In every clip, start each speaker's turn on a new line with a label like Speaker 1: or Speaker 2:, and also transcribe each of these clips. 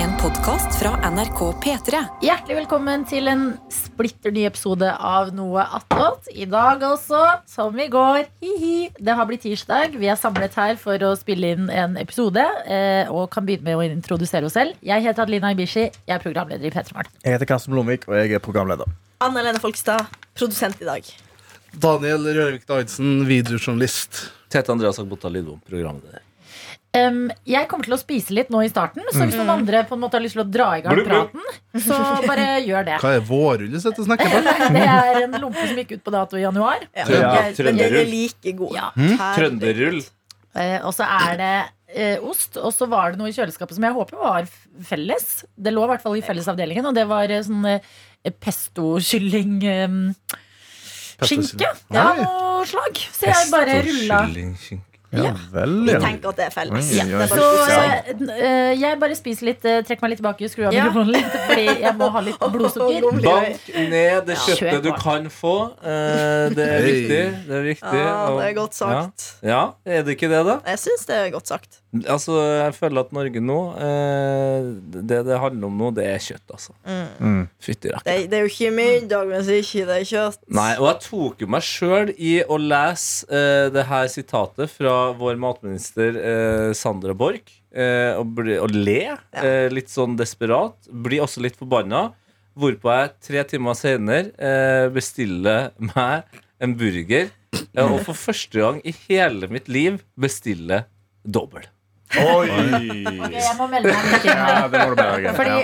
Speaker 1: En podkast fra NRK P3.
Speaker 2: Hjertelig velkommen til en splitter ny episode av Noe attåt. I dag også, som i går. Hihi. Det har blitt tirsdag. Vi er samlet her for å spille inn en episode. eh, Og kan begynne med å introdusere oss selv. Jeg heter Adelina Ibishi. Jeg er programleder i P3 Morgen.
Speaker 3: Jeg heter Karsten Blomvik, og jeg er programleder.
Speaker 4: Anne Lene Folkestad, produsent i dag.
Speaker 5: Daniel Rørvik Davidsen, videojournalist.
Speaker 6: Tete Andreas Agbota Lidbom, programleder.
Speaker 2: Em, jeg kommer til å spise litt nå i starten, så hvis noen andre på en måte har lyst til å dra i gang praten, så bare gjør det.
Speaker 5: Hva er vårrulle dette snakker om?
Speaker 2: Det er en lompe som gikk ut på dato i januar.
Speaker 4: Ja.
Speaker 6: Ja,
Speaker 4: Jeg- Men jeg er
Speaker 6: trønderrull. Hm?
Speaker 4: like god.
Speaker 2: Ja.
Speaker 4: Herregud.
Speaker 6: Trønderrull.
Speaker 2: Eh, og så er det eh, ost, og så var det noe i kjøleskapet som jeg håper var f- felles. Det lå i hvert fall i fellesavdelingen, og det var eh, sånn eh, pesto-kylling eh, Skinke
Speaker 5: Oi.
Speaker 2: av noe slag. Så jeg bare rulla. Ja.
Speaker 3: vel,
Speaker 4: Vi
Speaker 3: ja.
Speaker 4: tenker at det er felles.
Speaker 3: Oi,
Speaker 4: Ja,
Speaker 3: oi,
Speaker 4: det
Speaker 3: oi.
Speaker 4: er
Speaker 2: Så
Speaker 4: bare
Speaker 2: eh, n- eh, jeg bare spiser litt, eh, trekker meg litt tilbake, skru av
Speaker 4: Ja.
Speaker 2: mikrofonen litt, fordi jeg må ha litt blodsukker.
Speaker 6: Bank ned det
Speaker 2: Kjør
Speaker 6: kjøttet du
Speaker 2: på.
Speaker 6: kan få. Eh, Det er
Speaker 5: Hei.
Speaker 6: viktig. Det er, viktig.
Speaker 4: Ja, det er
Speaker 6: Og-
Speaker 4: godt sagt.
Speaker 6: Ja. ja, er det ikke det, da?
Speaker 4: Jeg syns det er godt sagt.
Speaker 6: Altså, Jeg føler at Norge nå eh, Det det handler om nå, det er kjøtt, altså.
Speaker 3: Mm.
Speaker 6: Fytti rakker.
Speaker 4: Det er, det er jo ikke middag hvis ikke det er kjøtt.
Speaker 6: Nei, og jeg tok jo meg sjøl i å lese eh, det her sitatet fra vår matminister eh, Sandra Borch. eh, og, bli, og le eh, litt sånn desperat. Blir også litt forbanna. Hvorpå jeg tre timer senere eh, bestiller meg en burger. eh, og for første gang i hele mitt liv bestiller dobbel.
Speaker 2: Ok, Jeg må melde meg litt inn
Speaker 3: Ja,
Speaker 2: her.
Speaker 3: det må du bare gjøre.
Speaker 2: Fordi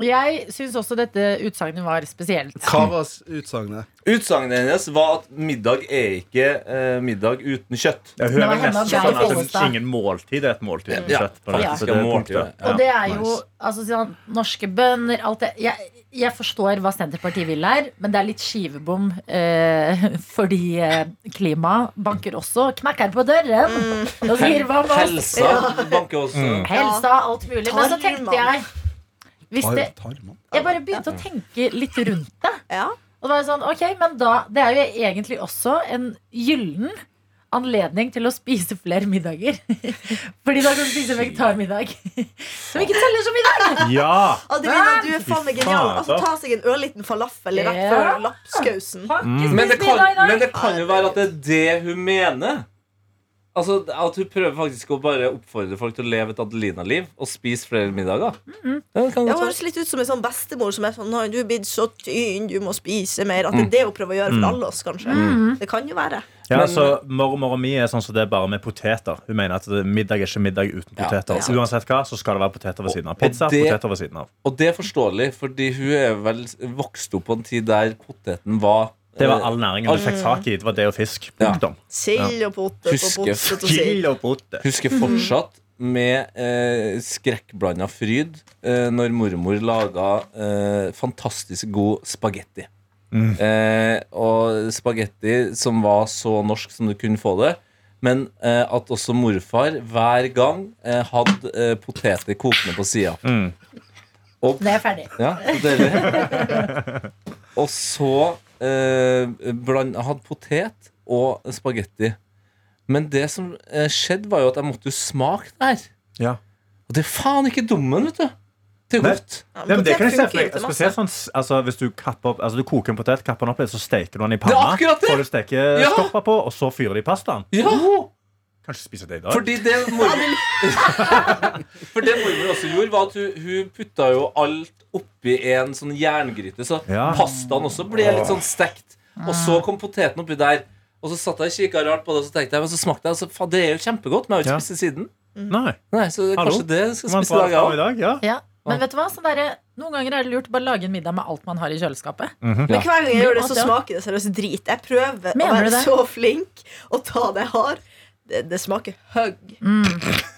Speaker 3: Ja.
Speaker 2: jeg syns også dette utsagnet var spesielt.
Speaker 5: Hva var s- utsagnet?
Speaker 6: Utsagnet hennes var at middag er ikke eh, middag uten kjøtt.
Speaker 3: Jeg hører
Speaker 2: Det var henne
Speaker 3: nesten
Speaker 2: og
Speaker 3: sånn
Speaker 2: Geir
Speaker 3: at
Speaker 2: Pollestad.
Speaker 3: ingen måltid er et måltid. rett og
Speaker 6: Ja,
Speaker 3: slett, på det-
Speaker 2: ja.
Speaker 3: på det punktet.
Speaker 6: Måltid,
Speaker 3: Ja.
Speaker 2: Og det er jo
Speaker 5: nice.
Speaker 2: altså, sånn, norske bønder alt det. Jeg, jeg forstår hva Senterpartiet vil her, men det er litt skivebom. Eh, fordi eh, klima banker også. Knekker på døren og sier hva hva-
Speaker 6: Helsa banker også.
Speaker 2: Mm. Helsa, alt mulig. Men så tenkte jeg hvis det, Jeg bare begynte å tenke litt rundt det.
Speaker 4: Ja.
Speaker 2: Og det var jo sånn, ok, men da Det er jo egentlig også en gyllen anledning til å spise flere middager. Fordi da kan du spise vegetarmiddag. Som ikke teller som middag.
Speaker 3: Ja!
Speaker 4: Adelina, du er faen meg genial.
Speaker 3: Fy faen,
Speaker 4: Altså, ta seg en ørliten falafel i rett
Speaker 2: Ja.
Speaker 4: før lapskausen.
Speaker 2: Har ikke spist
Speaker 6: Mm. Men det, kan,
Speaker 2: middag i dag.
Speaker 6: men det kan jo være at det er det hun mener. Altså At hun prøver faktisk å bare oppfordre folk til å leve et Adelina-liv og spise flere middager. Ja, det kan
Speaker 4: Det
Speaker 6: godt være.
Speaker 4: høres litt ut som en sånn bestemor som er sånn Nei, du er blitt så tynn, du må spise mer.
Speaker 6: Mm.
Speaker 4: At det er det hun prøver å gjøre for alle oss, kanskje.
Speaker 2: Mm.
Speaker 4: Det kan jo være.
Speaker 3: ja altså,
Speaker 6: Men-
Speaker 3: så Mormor mi er sånn som det er bare med poteter. Hun mener at det- middag er ikke middag uten
Speaker 6: Ja,
Speaker 3: poteter.
Speaker 6: ja.
Speaker 3: Så uansett hva, så skal det være poteter ved siden av. Pizza,
Speaker 6: og det-
Speaker 3: poteter ved siden av.
Speaker 6: Og det er forståelig, fordi hun er vel vokst opp på en tid der poteten var
Speaker 3: Det var
Speaker 6: eh,
Speaker 3: all næringen du fikk tak i. Det var det og fisk.
Speaker 6: Ja.
Speaker 3: Punktum.
Speaker 4: Sild og potet og
Speaker 6: Husker
Speaker 4: potet og sild.
Speaker 3: Sild og potet.
Speaker 6: Husker fortsatt med eh, skrekkblanda fryd eh, når mormor laga eh, fantastisk god spagetti. Eh, og spagetti som var så norsk som du kunne få det. Men eh, at også morfar hver gang eh, hadde eh, poteter kokende på sida. Og
Speaker 2: Det er ferdig.
Speaker 6: ja, og dere. Og så eh, bland, hadde potet og spagetti. Men det som eh, skjedde, var jo at jeg måtte jo smake det her.
Speaker 3: Ja.
Speaker 6: Og det er faen ikke dummen, vet du. Det er
Speaker 3: Nei.
Speaker 6: godt.
Speaker 4: Ja,
Speaker 3: Nei, men det
Speaker 4: potet
Speaker 3: kan jeg se
Speaker 4: funker
Speaker 3: for
Speaker 4: jo til
Speaker 3: deg.
Speaker 4: masse.
Speaker 3: Spesielt sånn, s- altså, hvis du, kapper, opp- altså, du koker en potet, kapper den opp litt, så steker du den i
Speaker 6: er
Speaker 3: panna.
Speaker 6: akkurat det!
Speaker 3: Får du stekestopper på, og så fyrer de pastaen.
Speaker 6: Ja,
Speaker 3: Kanskje spise det i dag.
Speaker 6: fordi det mor- For det mormor også gjorde, var at hun, hun putta jo alt oppi en sånn jerngryte, så
Speaker 3: Ja.
Speaker 6: pastaen også ble litt sånn stekt. Og så kom poteten oppi der. Og så satt jeg og kikka rart på det, og så tenkte jeg, men så smakte jeg, og så faen, det er jo kjempegodt, men jeg har jo
Speaker 3: Ja.
Speaker 6: ikke spist det siden.
Speaker 3: Nei.
Speaker 6: Nei, så det er
Speaker 3: Hallo?
Speaker 6: kanskje Mm. det jeg skal
Speaker 3: Man
Speaker 6: spise i dag,
Speaker 3: tar i
Speaker 6: ja.
Speaker 3: dag, ja.
Speaker 2: Ja. Men vet du hva? Sånn derre- noen ganger er det lurt å bare lage en middag med alt man har i kjøleskapet.
Speaker 4: Men hver gang jeg gjør det, så
Speaker 2: Ja.
Speaker 4: smaker det seriøst drit. Jeg prøver
Speaker 2: Mener
Speaker 4: å
Speaker 2: du
Speaker 4: være
Speaker 2: det?
Speaker 4: så flink og ta det jeg har. Det, det smaker hugg.
Speaker 3: Mm.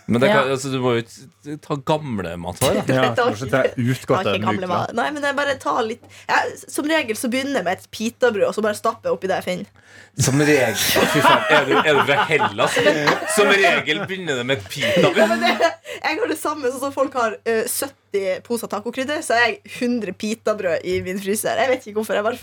Speaker 6: Men altså,
Speaker 2: det kan-
Speaker 6: du må jo ikke ta gamle matvarer.
Speaker 3: Ja,
Speaker 4: Jeg tar
Speaker 3: kanskje det er utgått
Speaker 4: Smaker
Speaker 3: en
Speaker 4: gamle
Speaker 3: uke.
Speaker 4: varer. Nei, men jeg bare tar litt jeg, Som regel så begynner jeg med et pitabrød, og så bare stapper jeg oppi det jeg finner.
Speaker 6: Som regel Fy faen, er du, er du fra Hellas? Som regel begynner det med et pitabrød.
Speaker 4: Men det, jeg har det samme sånn som folk har eh, 17 50 poser tacokrydder, så har jeg 100 pitabrød i min fryser. Jeg vet ikke hvorfor. jeg bare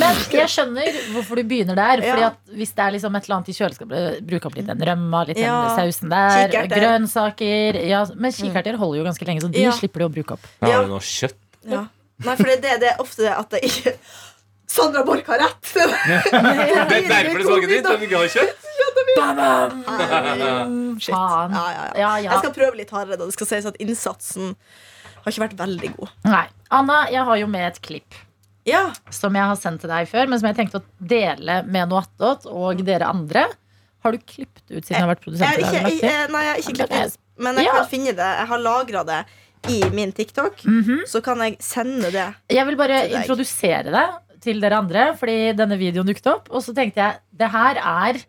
Speaker 2: Men jeg skjønner hvorfor du begynner der.
Speaker 4: Ja.
Speaker 2: Fordi at Hvis det er liksom et eller annet i kjøleskapet, bruk opp litt den rømma, litt den
Speaker 4: Ja.
Speaker 2: sausen der,
Speaker 4: Kikerter.
Speaker 2: grønnsaker ja, Men kikerter holder jo ganske lenge, så de
Speaker 4: Ja.
Speaker 2: slipper du å bruke opp.
Speaker 6: Har
Speaker 4: Ja.
Speaker 6: du noe kjøtt?
Speaker 4: Ja. Nei, for det, er det, det er ofte det at jeg ikke Sandra Borch har rett!
Speaker 6: Det er derfor det smaker dritt, men vi har kjøtt.
Speaker 4: Shit.
Speaker 2: Faen.
Speaker 4: Ja, ja, ja.
Speaker 2: Ja, ja.
Speaker 4: Jeg skal prøve litt hardere, da. Det skal sies at innsatsen har ikke vært veldig god.
Speaker 2: Nei. Anna, jeg har jo med et klipp
Speaker 4: Ja,
Speaker 2: som jeg har sendt til deg før, men som jeg tenkte å dele med noe attåt og dere andre. Har du klippet ut siden jeg har vært
Speaker 4: jeg
Speaker 2: produsent? i
Speaker 4: har
Speaker 2: dag,
Speaker 4: ikke,
Speaker 2: lagt til?
Speaker 4: jeg, nei, jeg har ikke
Speaker 2: Ja, men
Speaker 4: klippet ut, men jeg
Speaker 2: ja.
Speaker 4: kan finne det. Jeg har lagra det i min TikTok.
Speaker 2: Mhm.
Speaker 4: Så kan jeg sende det.
Speaker 2: Jeg vil bare
Speaker 4: til deg.
Speaker 2: introdusere deg til dere andre, fordi denne videoen dukket opp. Og så tenkte jeg det her er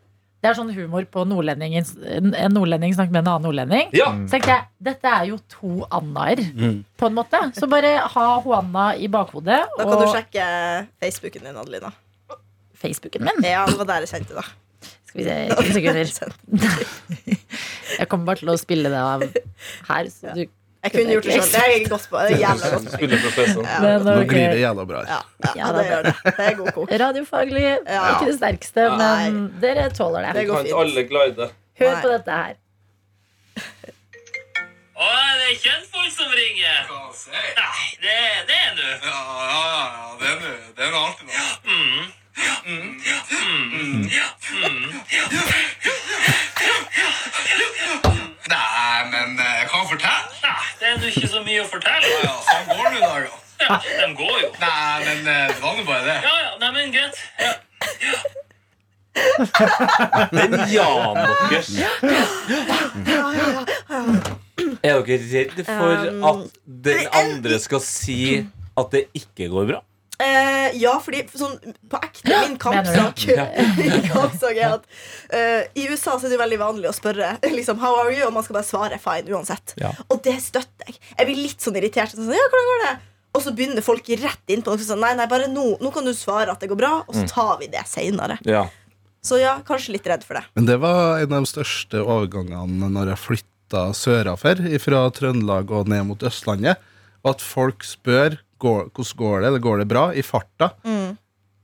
Speaker 2: Det er sånn humor på nordlendingen. En en nordlending snakker med en annen nordlending.
Speaker 6: Ja.
Speaker 2: Så tenkte jeg, dette er jo to Annaer, på en måte. Så bare ha Hoanna i bakhodet.
Speaker 4: Mm. Da kan du sjekke Facebooken din, Adelina.
Speaker 2: Facebooken min.
Speaker 4: Ja, det var der jeg kjente det.
Speaker 2: Skal vi se, to sekunder. Jeg kommer bare til å spille det av her. Så du,
Speaker 4: Jeg kunne gjort det sjøl. Det er jeg godt på. Det er jævla godt. på.
Speaker 6: Skulle professoren.
Speaker 4: Ja,
Speaker 2: Men,
Speaker 5: Nå
Speaker 2: ok.
Speaker 5: glir det jævla bra her.
Speaker 4: ja, ja, det gjør det. Det er god kok.
Speaker 2: Radiofaglig
Speaker 4: Ja.
Speaker 2: ikke det sterkeste, men dere tåler
Speaker 4: Det
Speaker 2: det.
Speaker 4: går
Speaker 6: Kan ikke
Speaker 4: fint.
Speaker 6: alle glide?
Speaker 2: Hør på dette her.
Speaker 7: Å, er det kjentfolk som ringer? Nei, det, det er du.
Speaker 8: Ja, ja, ja, ja. Det er nå- det er nå alltid noe. Nei, men eh, jeg kan fortelle.
Speaker 7: Nei, det er nå ikke så mye å fortelle.
Speaker 8: Ja, sånn går det i dag, da.
Speaker 7: Ja, de går jo.
Speaker 8: Nei, men eh, det var nå bare det.
Speaker 7: Ja, ja, nei, men greit. Ja.
Speaker 6: Den Jan deres. Er dere redd
Speaker 4: Um,
Speaker 6: for at den andre skal si at det ikke går bra?
Speaker 4: Eh, ja, fordi sånn, på ekte min kampsak,
Speaker 6: Mener
Speaker 4: min kampsak er at eh, I USA så er det jo veldig vanlig å spørre liksom, How are you? og man skal bare svare fine uansett.
Speaker 6: Ja.
Speaker 4: Og det støtter jeg. Jeg blir litt sånn irritert. Sånn, ja, hvordan går det? Og så begynner folk rett inn på noe sånn Nei, nei, bare nå. Nå kan du svare at det går bra, og så
Speaker 6: Mm.
Speaker 4: tar vi det seinere.
Speaker 6: Ja.
Speaker 4: Så ja, kanskje litt redd for det.
Speaker 5: Men det var en av de største overgangene når jeg flytta sørafor, fra Trøndelag og ned mot Østlandet. Og at folk spør går, hvordan går det, eller går det bra, i farta.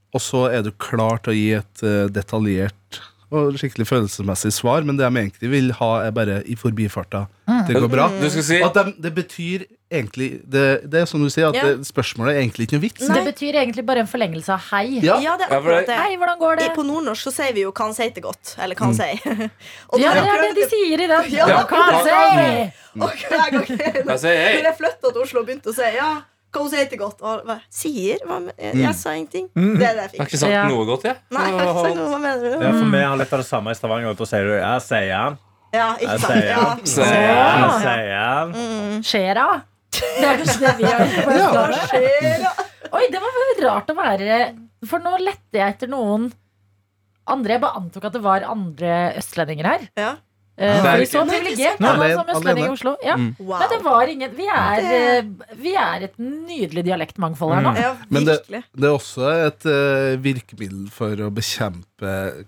Speaker 5: Og så er du klar til å gi et eh, detaljert og skikkelig følelsesmessig svar, men det de egentlig vil ha, er bare i forbifarta. Det går bra.
Speaker 6: Du skal si
Speaker 5: At dem- det betyr egentlig Det, det er som du sier, at
Speaker 4: Ja.
Speaker 5: det, spørsmålet er egentlig ikke noe vits.
Speaker 2: Det betyr egentlig bare en forlengelse av hei.
Speaker 5: Ja.
Speaker 4: Ja, det er
Speaker 6: Ja, for det-
Speaker 4: akkurat det.
Speaker 2: Hei, hvordan går det?
Speaker 4: I, på nordnorsk så sier vi jo 'kan si det godt'. Eller
Speaker 6: Mm.
Speaker 4: 'kan si'. Og
Speaker 2: Ja, det
Speaker 4: når jeg
Speaker 2: er det
Speaker 4: prøvde-
Speaker 2: de sier i den.
Speaker 4: Ja,
Speaker 2: Hva kan jeg si?
Speaker 4: Og hver gang jeg-
Speaker 6: Jeg sier hei.
Speaker 4: Når jeg flytta til Oslo og begynte å si ja, hva hun sier til godt og hva, Sier? Hva, men- jeg, jeg sa ingenting. Det er det jeg
Speaker 6: Jeg har
Speaker 4: fikk.
Speaker 6: ikke sagt
Speaker 2: Ja.
Speaker 6: noe godt, jeg.
Speaker 4: Nei, jeg har ikke sagt noe, hva mener du?
Speaker 3: Ja, for vi har litt av det samme i Stavanger. og Da sier du 'jeg sier han'.
Speaker 4: Ja, ikke
Speaker 3: Jeg
Speaker 4: sant?
Speaker 3: sier
Speaker 4: Ja.
Speaker 6: Så,
Speaker 3: Jeg sier han.
Speaker 2: Skjer da? Det er kanskje det vi har gjort på Østlandet.
Speaker 4: Skjer, ja.
Speaker 2: Oi, det var veldig rart å være For nå lette jeg etter noen andre. Jeg bare antok at det var andre østlendinger her.
Speaker 4: Ja.
Speaker 2: Eh,
Speaker 5: Det er Mm.
Speaker 2: fordi
Speaker 5: ikke-
Speaker 2: så privilegert
Speaker 5: Nei,
Speaker 2: er man
Speaker 5: alene-
Speaker 2: som østlending i
Speaker 5: alene.
Speaker 2: Oslo. Ja.
Speaker 4: Wow.
Speaker 2: Men det var ingen Vi er, eh, vi er et nydelig dialektmangfold her nå.
Speaker 4: Ja,
Speaker 5: Men det,
Speaker 4: virkelig.
Speaker 5: det er også et eh, virkemiddel for å bekjempe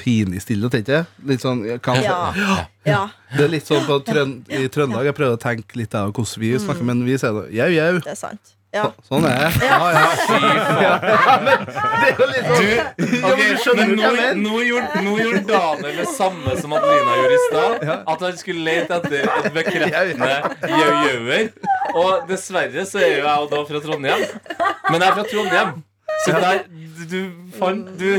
Speaker 5: pinlig stillhet, ikke sant? Litt sånn, jeg kan,
Speaker 4: Ja. Ja.
Speaker 5: Det er litt sånn på trøn, I Trøndelag jeg prøver å tenke litt av hvordan vi snakker, men vi sier det jau, jau.
Speaker 4: Det er sant. Ja.
Speaker 5: Sånn er jeg. Ja, ja. Det er jo litt sånn ja, men du skjønner hva
Speaker 6: men nå,
Speaker 5: jeg mener.
Speaker 6: nå, gjorde, nå gjorde Daniel det samme som Adelina gjorde i stad. At han skulle lete etter et bekreftende jau-jauer. Og dessverre så er jo jeg og da fra Trondheim. Men jeg er fra Trondheim. Så der du fant Du,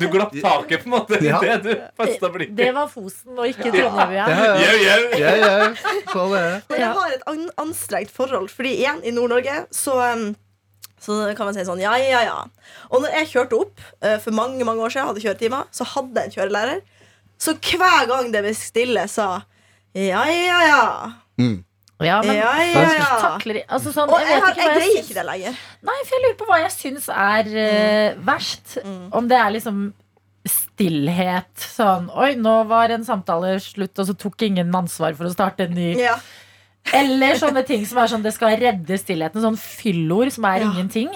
Speaker 6: du glapp taket, på en måte. I
Speaker 5: Ja.
Speaker 6: det du festa blikket.
Speaker 2: Det var Fosen og ikke Trondheim. Ja.
Speaker 5: Ja, ja.
Speaker 6: Jau, jau.
Speaker 5: Ja, ja. Sånn er jeg.
Speaker 4: Men jeg har et an anstrengt forhold, fordi igjen, i Nord-Norge så um, så kan man si sånn, ja, ja, ja Og når jeg kjørte opp eh, for mange, mange år siden Hadde kjøretimer, så hadde jeg en kjørelærer Så hver gang det ble stille Sa, ja, ja, ja
Speaker 2: Ja,
Speaker 4: Ja,
Speaker 2: men
Speaker 4: ja, ja
Speaker 2: takler altså, sånn,
Speaker 4: Og
Speaker 2: jeg
Speaker 4: jeg,
Speaker 2: vet
Speaker 4: har-
Speaker 2: ikke hva jeg
Speaker 4: jeg greier
Speaker 2: syns-
Speaker 4: ikke det lenger
Speaker 2: Nei, for jeg lurer på hva jeg syns er eh,
Speaker 4: Mm.
Speaker 2: verst. Om det er liksom stillhet. Sånn Oi, nå var en samtale slutt, og så tok ingen ansvar for å starte en ny.
Speaker 4: ja.
Speaker 2: Eller sånne ting som er sånn det skal redde stillheten. Sånn fyllord som er
Speaker 4: Ja.
Speaker 2: ingenting.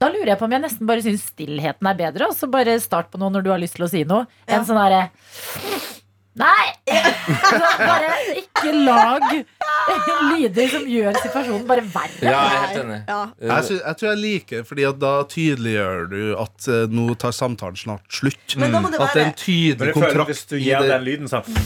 Speaker 2: Da lurer jeg på om jeg nesten bare syns stillheten er bedre. Og så bare start på noe når du har lyst til å si noe.
Speaker 4: Ja.
Speaker 2: En sånn derre Nei! Så bare ikke lag lyder som gjør situasjonen bare verre.
Speaker 6: Ja, jeg er helt enig.
Speaker 4: Ja.
Speaker 5: Jeg, sy- jeg tror jeg liker Fordi at da tydeliggjør du at eh, nå tar samtalen snart slutt.
Speaker 4: Men da må det
Speaker 5: At det er
Speaker 4: være
Speaker 5: en tydelig
Speaker 3: Hvis
Speaker 5: kontrakt
Speaker 3: du
Speaker 5: i
Speaker 3: gir
Speaker 5: det.
Speaker 3: den lyden sånn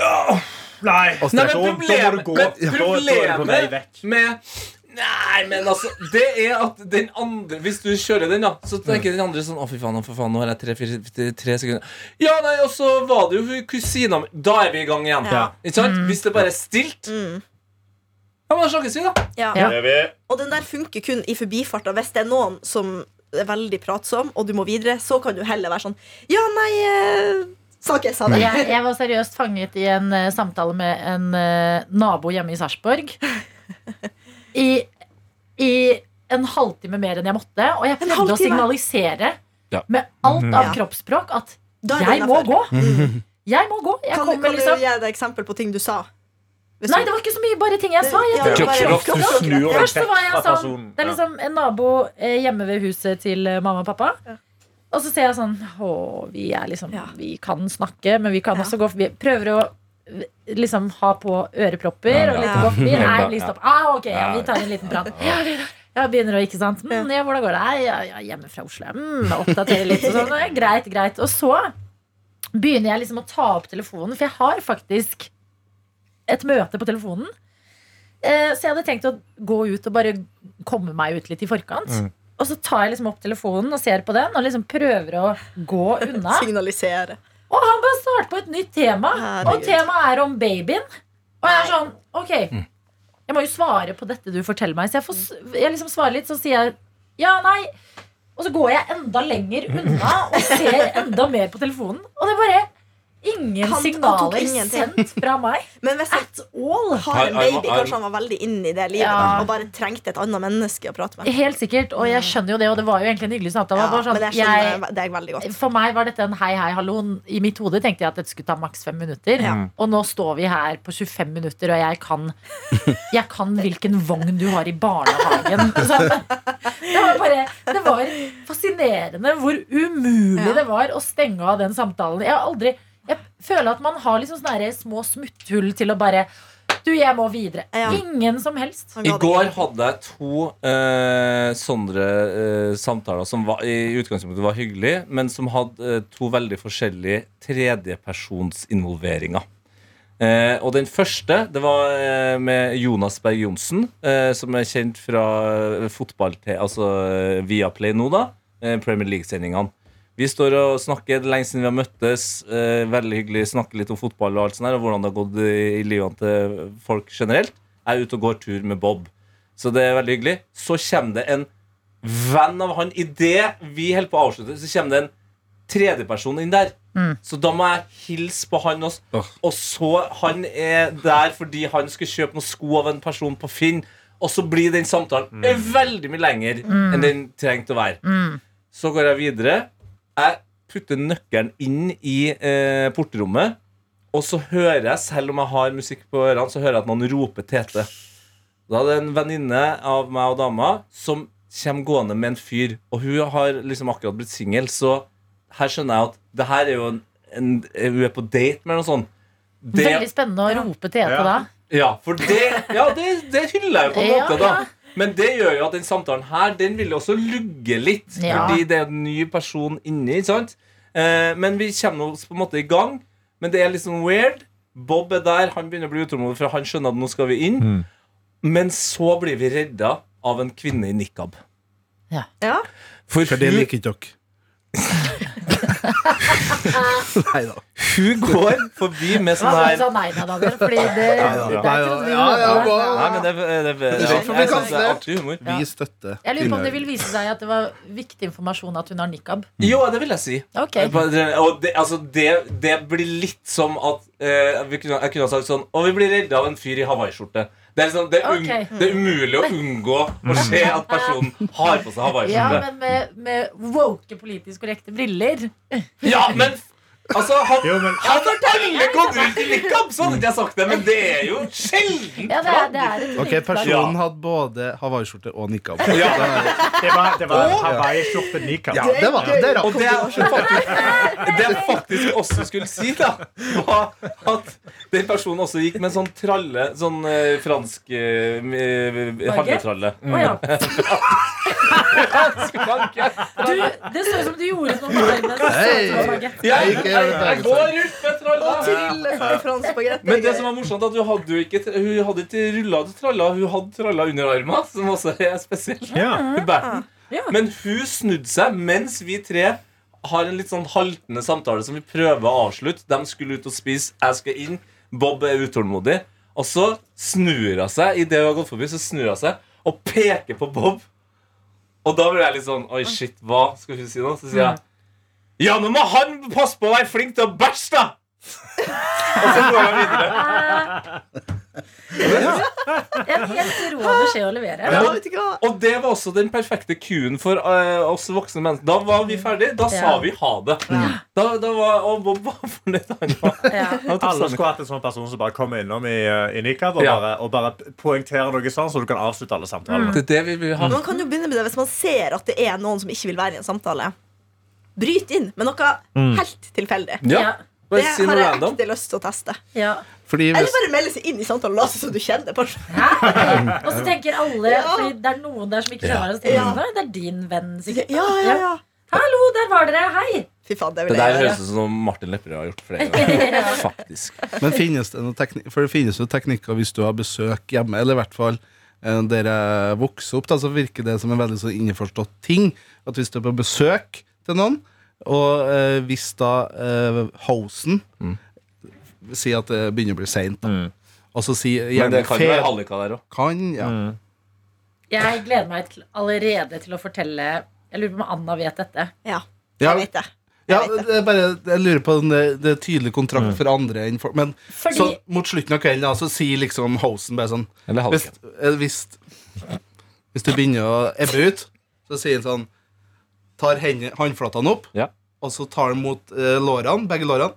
Speaker 3: «Åh, Nei,
Speaker 5: Altså,
Speaker 6: Nei,
Speaker 5: det er
Speaker 3: så- da
Speaker 6: men
Speaker 3: må
Speaker 6: problemet,
Speaker 3: du gå.
Speaker 6: men
Speaker 3: Ja, da- da er du på vei
Speaker 6: problemet
Speaker 3: vekk.
Speaker 6: med Nei, men altså Det er at den andre Hvis du kjører den, da, så tenker den andre sånn Å, fy faen, å, for faen, nå har jeg tre, fire, fire, tre sekunder. Ja, nei, og så var det jo hun kusina mi Da er vi i gang igjen.
Speaker 4: Ja.
Speaker 6: Ikke sant? Hvis det bare er stilt,
Speaker 4: Mm.
Speaker 6: ja, men da snakkes vi, da.
Speaker 4: Ja.
Speaker 2: Ja.
Speaker 4: Og den der funker kun i forbifarta hvis det er noen som er veldig pratsom, og du må videre. Så kan du heller være sånn Ja, nei eh, Snakkes, ha det.
Speaker 2: Jeg, jeg var seriøst fanget i en eh, samtale med en eh, nabo hjemme i Sarpsborg. I, I en halvtime mer enn jeg måtte. Og jeg prøvde å
Speaker 4: halvtime?
Speaker 2: signalisere
Speaker 6: Ja.
Speaker 2: med alt av
Speaker 4: Ja.
Speaker 2: kroppsspråk at
Speaker 4: Da er det
Speaker 2: jeg må
Speaker 4: innenfor.
Speaker 2: gå. Jeg må gå. Jeg
Speaker 4: Mhm. Kan, du-
Speaker 2: kommer
Speaker 4: kan du
Speaker 2: liksom
Speaker 4: gi et eksempel på ting du sa? Hvis
Speaker 2: Nei,
Speaker 4: du-
Speaker 2: det var ikke så mye bare ting jeg sa. Jeg
Speaker 4: Ja,
Speaker 2: tenkte
Speaker 4: det var
Speaker 2: bare-
Speaker 4: kroppsspråk.
Speaker 3: Du snur deg
Speaker 2: Først så
Speaker 3: vekk
Speaker 2: var jeg
Speaker 3: fra
Speaker 2: sånn
Speaker 3: personen.
Speaker 2: Det er liksom en nabo eh, hjemme ved huset til eh, mamma og pappa. Og så ser jeg sånn Å, vi er liksom
Speaker 4: Ja.
Speaker 2: Vi kan snakke, men vi kan
Speaker 4: Ja.
Speaker 2: også gå forbi. Prøver å eh, liksom ha på ørepropper
Speaker 6: Ja,
Speaker 2: og litt å
Speaker 4: ja.
Speaker 2: gå forbi. Nei,
Speaker 6: Ja.
Speaker 2: bli stopp. Ah, ok, ja,
Speaker 6: Ja.
Speaker 2: vi tar en liten prat. Ja, ja, begynner å, ikke sant. Mm, ja, hvordan går det? Nei, ja, ja, hjemme fra Oslo. Mm, oppdatere litt og sånn. Ja, Greit, greit. Og så begynner jeg liksom å ta opp telefonen, for jeg har faktisk et møte på telefonen. Eh, Så jeg hadde tenkt å gå ut og bare komme meg ut litt i forkant. Og så tar jeg liksom opp telefonen og ser på den og liksom prøver å gå unna.
Speaker 4: Signalisere.
Speaker 2: Og han bare starter på et nytt tema.
Speaker 4: Herregud.
Speaker 2: Og temaet er om babyen. Og jeg er sånn, ok Jeg må jo svare på dette du forteller meg. Så jeg, får, s- jeg liksom svarer litt, så sier jeg ja, nei. Og så går jeg enda lenger unna og ser enda mer på telefonen. Og det er bare ingen
Speaker 4: Han- han tok
Speaker 2: signaler
Speaker 4: ingenting.
Speaker 2: sendt fra meg
Speaker 4: Men hvis jeg
Speaker 2: at all.
Speaker 4: har en
Speaker 6: Har- har-
Speaker 4: baby,
Speaker 6: har-
Speaker 4: kanskje han var veldig inn i det livet
Speaker 2: Ja.
Speaker 4: da, og bare trengte et annet menneske å prate med.
Speaker 2: Helt sikkert, og jeg skjønner jo det, og det var jo egentlig en hyggelig samtale.
Speaker 4: Mm. Ja,
Speaker 2: Det var
Speaker 4: men
Speaker 2: bare sånn,
Speaker 4: jeg
Speaker 2: jeg,
Speaker 4: skjønner deg veldig godt.
Speaker 2: For meg var dette en hei, hei, hallo. I mitt hode tenkte jeg at dette skulle ta maks fem minutter. Og nå står vi her på 25 minutter, og jeg kan, jeg kan hvilken vogn du har i barnehagen. Så, det, var bare, det var fascinerende hvor umulig
Speaker 4: Ja.
Speaker 2: det var å stenge av den samtalen. Jeg har aldri Jeg føler at man har liksom sånne her små smutthull til å bare Du, jeg må videre.
Speaker 4: Ja.
Speaker 2: Ingen som helst.
Speaker 4: Han
Speaker 6: I
Speaker 4: ga det
Speaker 6: går
Speaker 4: ikke.
Speaker 6: hadde jeg to eh, sånne eh, samtaler som var, i utgangspunktet var hyggelige, men som hadde eh, to veldig forskjellige tredjepersonsinvolveringer. Eh, og den første det var eh, med Jonas Berg Johnsen, eh, som er kjent fra eh, fotball til altså eh, Viaplay nå, da. Eh, Premier League-sendingene. Vi står og snakker, det er lenge siden vi har møttes. Eh, veldig hyggelig, snakker litt om fotball og alt sånt her, og hvordan det har gått i, i livet til folk generelt. Jeg er ute og går tur med Bob. Så det er veldig hyggelig. Så kommer det en venn av han. Idet vi holder på å avslutte, så kommer det en tredjeperson inn der. Så da må jeg hilse på han også.
Speaker 5: Åh.
Speaker 6: Og så han er der fordi han skal kjøpe noen sko av en person på Finn. Og så blir den samtalen veldig mye lenger enn den trengte å være. Så går jeg videre. Jeg putter nøkkelen inn i eh, portrommet. Og så hører jeg, selv om jeg har musikk på ørene, så hører jeg at noen roper Tete. Da er det en venninne av meg og dama som kommer gående med en fyr. Og hun har liksom akkurat blitt singel, så her skjønner jeg at det her er jo en, en Hun er på date med noe sånt. Det,
Speaker 2: Veldig spennende å rope til Ete
Speaker 3: Ja.
Speaker 2: da.
Speaker 6: ja, for det, ja, det, det hyller jeg på en
Speaker 2: Ja,
Speaker 6: måte, da.
Speaker 2: ja.
Speaker 6: Men det gjør jo at den samtalen her Den vil jo også lugge litt,
Speaker 2: Ja.
Speaker 6: fordi det er en ny person inni. ikke sant? Eh, men vi kommer oss på en måte i gang. Men det er liksom weird. Bob er der, han begynner å bli utålmodig, for han skjønner at nå skal vi inn. Men så blir vi redda av en kvinne i nikab.
Speaker 4: Ja.
Speaker 6: For
Speaker 5: For det
Speaker 6: hun,
Speaker 5: liker ikke dere. Nei da.
Speaker 6: hun går forbi med
Speaker 2: Hva
Speaker 6: sånn
Speaker 2: var det
Speaker 6: her
Speaker 2: du sa nei da, Daniel? Fordi det, det er ikke noe vi
Speaker 5: Ja, ja,
Speaker 2: hører.
Speaker 5: hva-
Speaker 6: Nei, men det, det, det,
Speaker 5: er
Speaker 6: ja,
Speaker 5: ikke for å bli
Speaker 6: jeg synes det er
Speaker 5: kansellert.
Speaker 6: artig humor.
Speaker 5: Vi støtter
Speaker 2: Jeg lurer på om det vil vise seg at det var viktig informasjon at hun har nikab.
Speaker 6: Jo, det vil jeg si.
Speaker 2: Ok.
Speaker 6: Eh, bare- Og det, altså, det, det blir litt som at eh, vi kunne, Jeg kunne ha sagt sånn Og vi blir redda av en fyr i hawaiiskjorte. Det er, liksom, det, er un-
Speaker 2: Ok. Mm.
Speaker 6: det er umulig å unngå å se at personen har på seg
Speaker 2: Ja,
Speaker 6: hawaiiskjorte.
Speaker 2: men med, med woke politisk korrekte briller.
Speaker 6: Ja, men Altså, han,
Speaker 3: Jo, men-
Speaker 6: han har alle gått rundt i nikab, så hadde ikke jeg sagt det, men det er jo sjelden.
Speaker 2: Ja, det er, det er et
Speaker 5: Ok,
Speaker 2: nytt plagg.
Speaker 5: Personen hadde både hawaiiskjorte og nikab.
Speaker 6: Ja.
Speaker 3: Det var, det var Hawaii-skjorte nikab.
Speaker 5: Ja, det var det. er
Speaker 6: Og
Speaker 5: rart.
Speaker 6: det jeg faktisk, det jeg faktisk også skulle si, da, var at den personen også gikk med en sånn tralle, sånn eh, fransk eh, handletralle.
Speaker 5: Mm.
Speaker 2: Å, ja.
Speaker 6: Jeg,
Speaker 2: Du, det så ut som du gjorde noe med armen. så ut
Speaker 5: Hei.
Speaker 2: som en baguette.
Speaker 5: Jeg gikk i
Speaker 6: jeg, jeg går rundt med tralla!
Speaker 4: Trille fransk baguette.
Speaker 6: Men det som var morsomt, at hun hadde jo ikke Hun hadde ikke rulla til tralla, hun hadde tralla under armen, som også er spesielt.
Speaker 3: Ja.
Speaker 6: Hun bærte
Speaker 2: Ja.
Speaker 6: den. Men hun snudde seg mens vi tre har en litt sånn haltende samtale som vi prøver å avslutte. De skulle ut og spise, jeg skal inn. Bob er utålmodig. Og så snur hun seg idet hun har gått forbi, så snur hun seg og peker på Bob. Og da blir jeg litt sånn Oi, shit, hva skal hun si nå? Så sier jeg Ja, nå må han passe på å være flink til å bæsje, da! og så går jeg videre.
Speaker 2: En helt rå beskjed å levere.
Speaker 4: Ja, vet du hva?
Speaker 6: Og det var også den perfekte kuen for eh, oss voksne mennesker. Da var vi ferdige. Da sa
Speaker 2: Ja.
Speaker 6: vi ha det. Da, da var, og Bob var fornøyd. Han var,
Speaker 2: Ja.
Speaker 6: han tok
Speaker 3: Alle
Speaker 6: seg-
Speaker 3: skulle hatt en sånn person som bare kommer innom i, eh, i nikab og,
Speaker 6: Ja.
Speaker 3: bare, og bare poengterer noe sånn, så du kan avslutte alle
Speaker 4: Mm.
Speaker 3: samtalene.
Speaker 6: Det er det vi vil ha.
Speaker 4: Man kan jo begynne med det hvis man ser at det er noen som ikke vil være i en samtale. Bryt inn med noe helt tilfeldig.
Speaker 6: Ja.
Speaker 2: Ja.
Speaker 4: Det
Speaker 6: Mm. Bare si
Speaker 4: har
Speaker 6: noe
Speaker 4: jeg
Speaker 6: random.
Speaker 4: ekte lyst til å teste.
Speaker 2: Ja.
Speaker 5: Fordi
Speaker 4: Eller
Speaker 5: hvis,
Speaker 4: bare melde seg inn i samtalen og late som du kjenner personen.
Speaker 2: Og så tenker alle, fordi det er noen der som ikke skjønner det, så tenker
Speaker 4: Ja.
Speaker 2: de, «Nei, det er din venn sikkert.
Speaker 4: Ja, ja, ja.
Speaker 2: Hallo, der var dere. Hei.
Speaker 4: Fy faen, det
Speaker 6: Det
Speaker 4: vil jeg
Speaker 6: der
Speaker 4: gjøre.
Speaker 6: høres ut som Martin Lepperød har gjort flere ganger. Faktisk.
Speaker 5: men finnes det noen teknik For det finnes jo teknikker hvis du har besøk hjemme, eller i hvert fall eh, der jeg vokser opp, da, så virker det som en veldig sånn innforstått ting. At hvis du er på besøk til noen, og eh, hvis da eh, hosen
Speaker 6: Mm.
Speaker 5: sier at det begynner å bli seint,
Speaker 3: Mm.
Speaker 5: og så sier gjerne
Speaker 6: Men det kan jo være Mm.
Speaker 5: fed-
Speaker 6: hallika der òg.
Speaker 5: kan, ja.
Speaker 2: Jeg gleder meg til, allerede til å fortelle Jeg lurer på om Anna vet dette.
Speaker 4: Ja,
Speaker 5: Ja,
Speaker 4: jeg vet det.
Speaker 5: ja,
Speaker 4: vet det.
Speaker 5: det er bare, jeg lurer på om det, det er tydelig kontrakt for andre enn for Men
Speaker 2: Fordi
Speaker 5: så mot slutten av kvelden da, så sier liksom hosen bare sånn
Speaker 6: Eller
Speaker 5: Hvis,
Speaker 6: hallika.
Speaker 5: eh, hvis, hvis du begynner å ebbe ut, så sier han sånn Tar henne- håndflatene opp,
Speaker 6: Ja.
Speaker 5: og så tar han mot eh, lårene, begge lårene.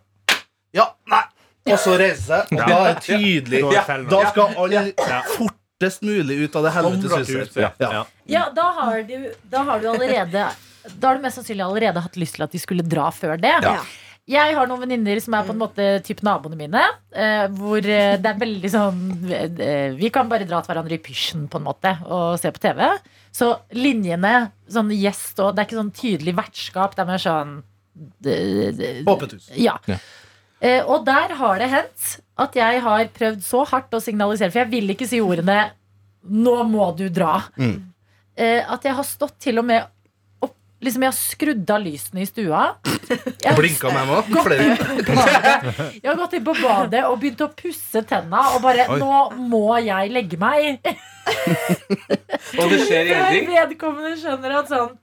Speaker 5: Ja, nei! Og så reiser seg, og da er det tydelig.
Speaker 3: Ja.
Speaker 5: Da skal alle fortest mulig ut av det
Speaker 3: Kom
Speaker 5: helvetes
Speaker 3: dere ut.
Speaker 5: huset.
Speaker 3: Ja.
Speaker 5: Ja.
Speaker 3: Ja.
Speaker 2: Ja, da har du, da har du allerede Da har du mest sannsynlig allerede hatt lyst til at de skulle dra før det.
Speaker 4: Ja.
Speaker 2: Jeg har noen venninner som er på en måte typ naboene mine. eh, hvor eh, det er veldig sånn eh, Vi kan bare dra til hverandre i pysjen på en måte og se på TV. Så linjene, sånn gjest og Det er ikke sånn tydelig vertskap. Det er mer sånn d- d-
Speaker 5: Åpent hus.
Speaker 2: ja.
Speaker 6: Ja.
Speaker 2: Eh, og der har det hendt at jeg har prøvd så hardt å signalisere, for jeg vil ikke si ordene 'nå må du dra'.
Speaker 5: Mm.
Speaker 2: Eh, at jeg har stått til og med opp Liksom Jeg har skrudd av lysene i stua. Jeg har,
Speaker 5: Blinka med meg òg. Flere
Speaker 2: jeg har gått inn på badet og begynt å pusse tenna og bare
Speaker 5: Oi.
Speaker 2: 'nå må jeg legge meg'.
Speaker 6: Og det
Speaker 2: Før
Speaker 6: skjer ingenting.
Speaker 2: vedkommende skjønner at sånn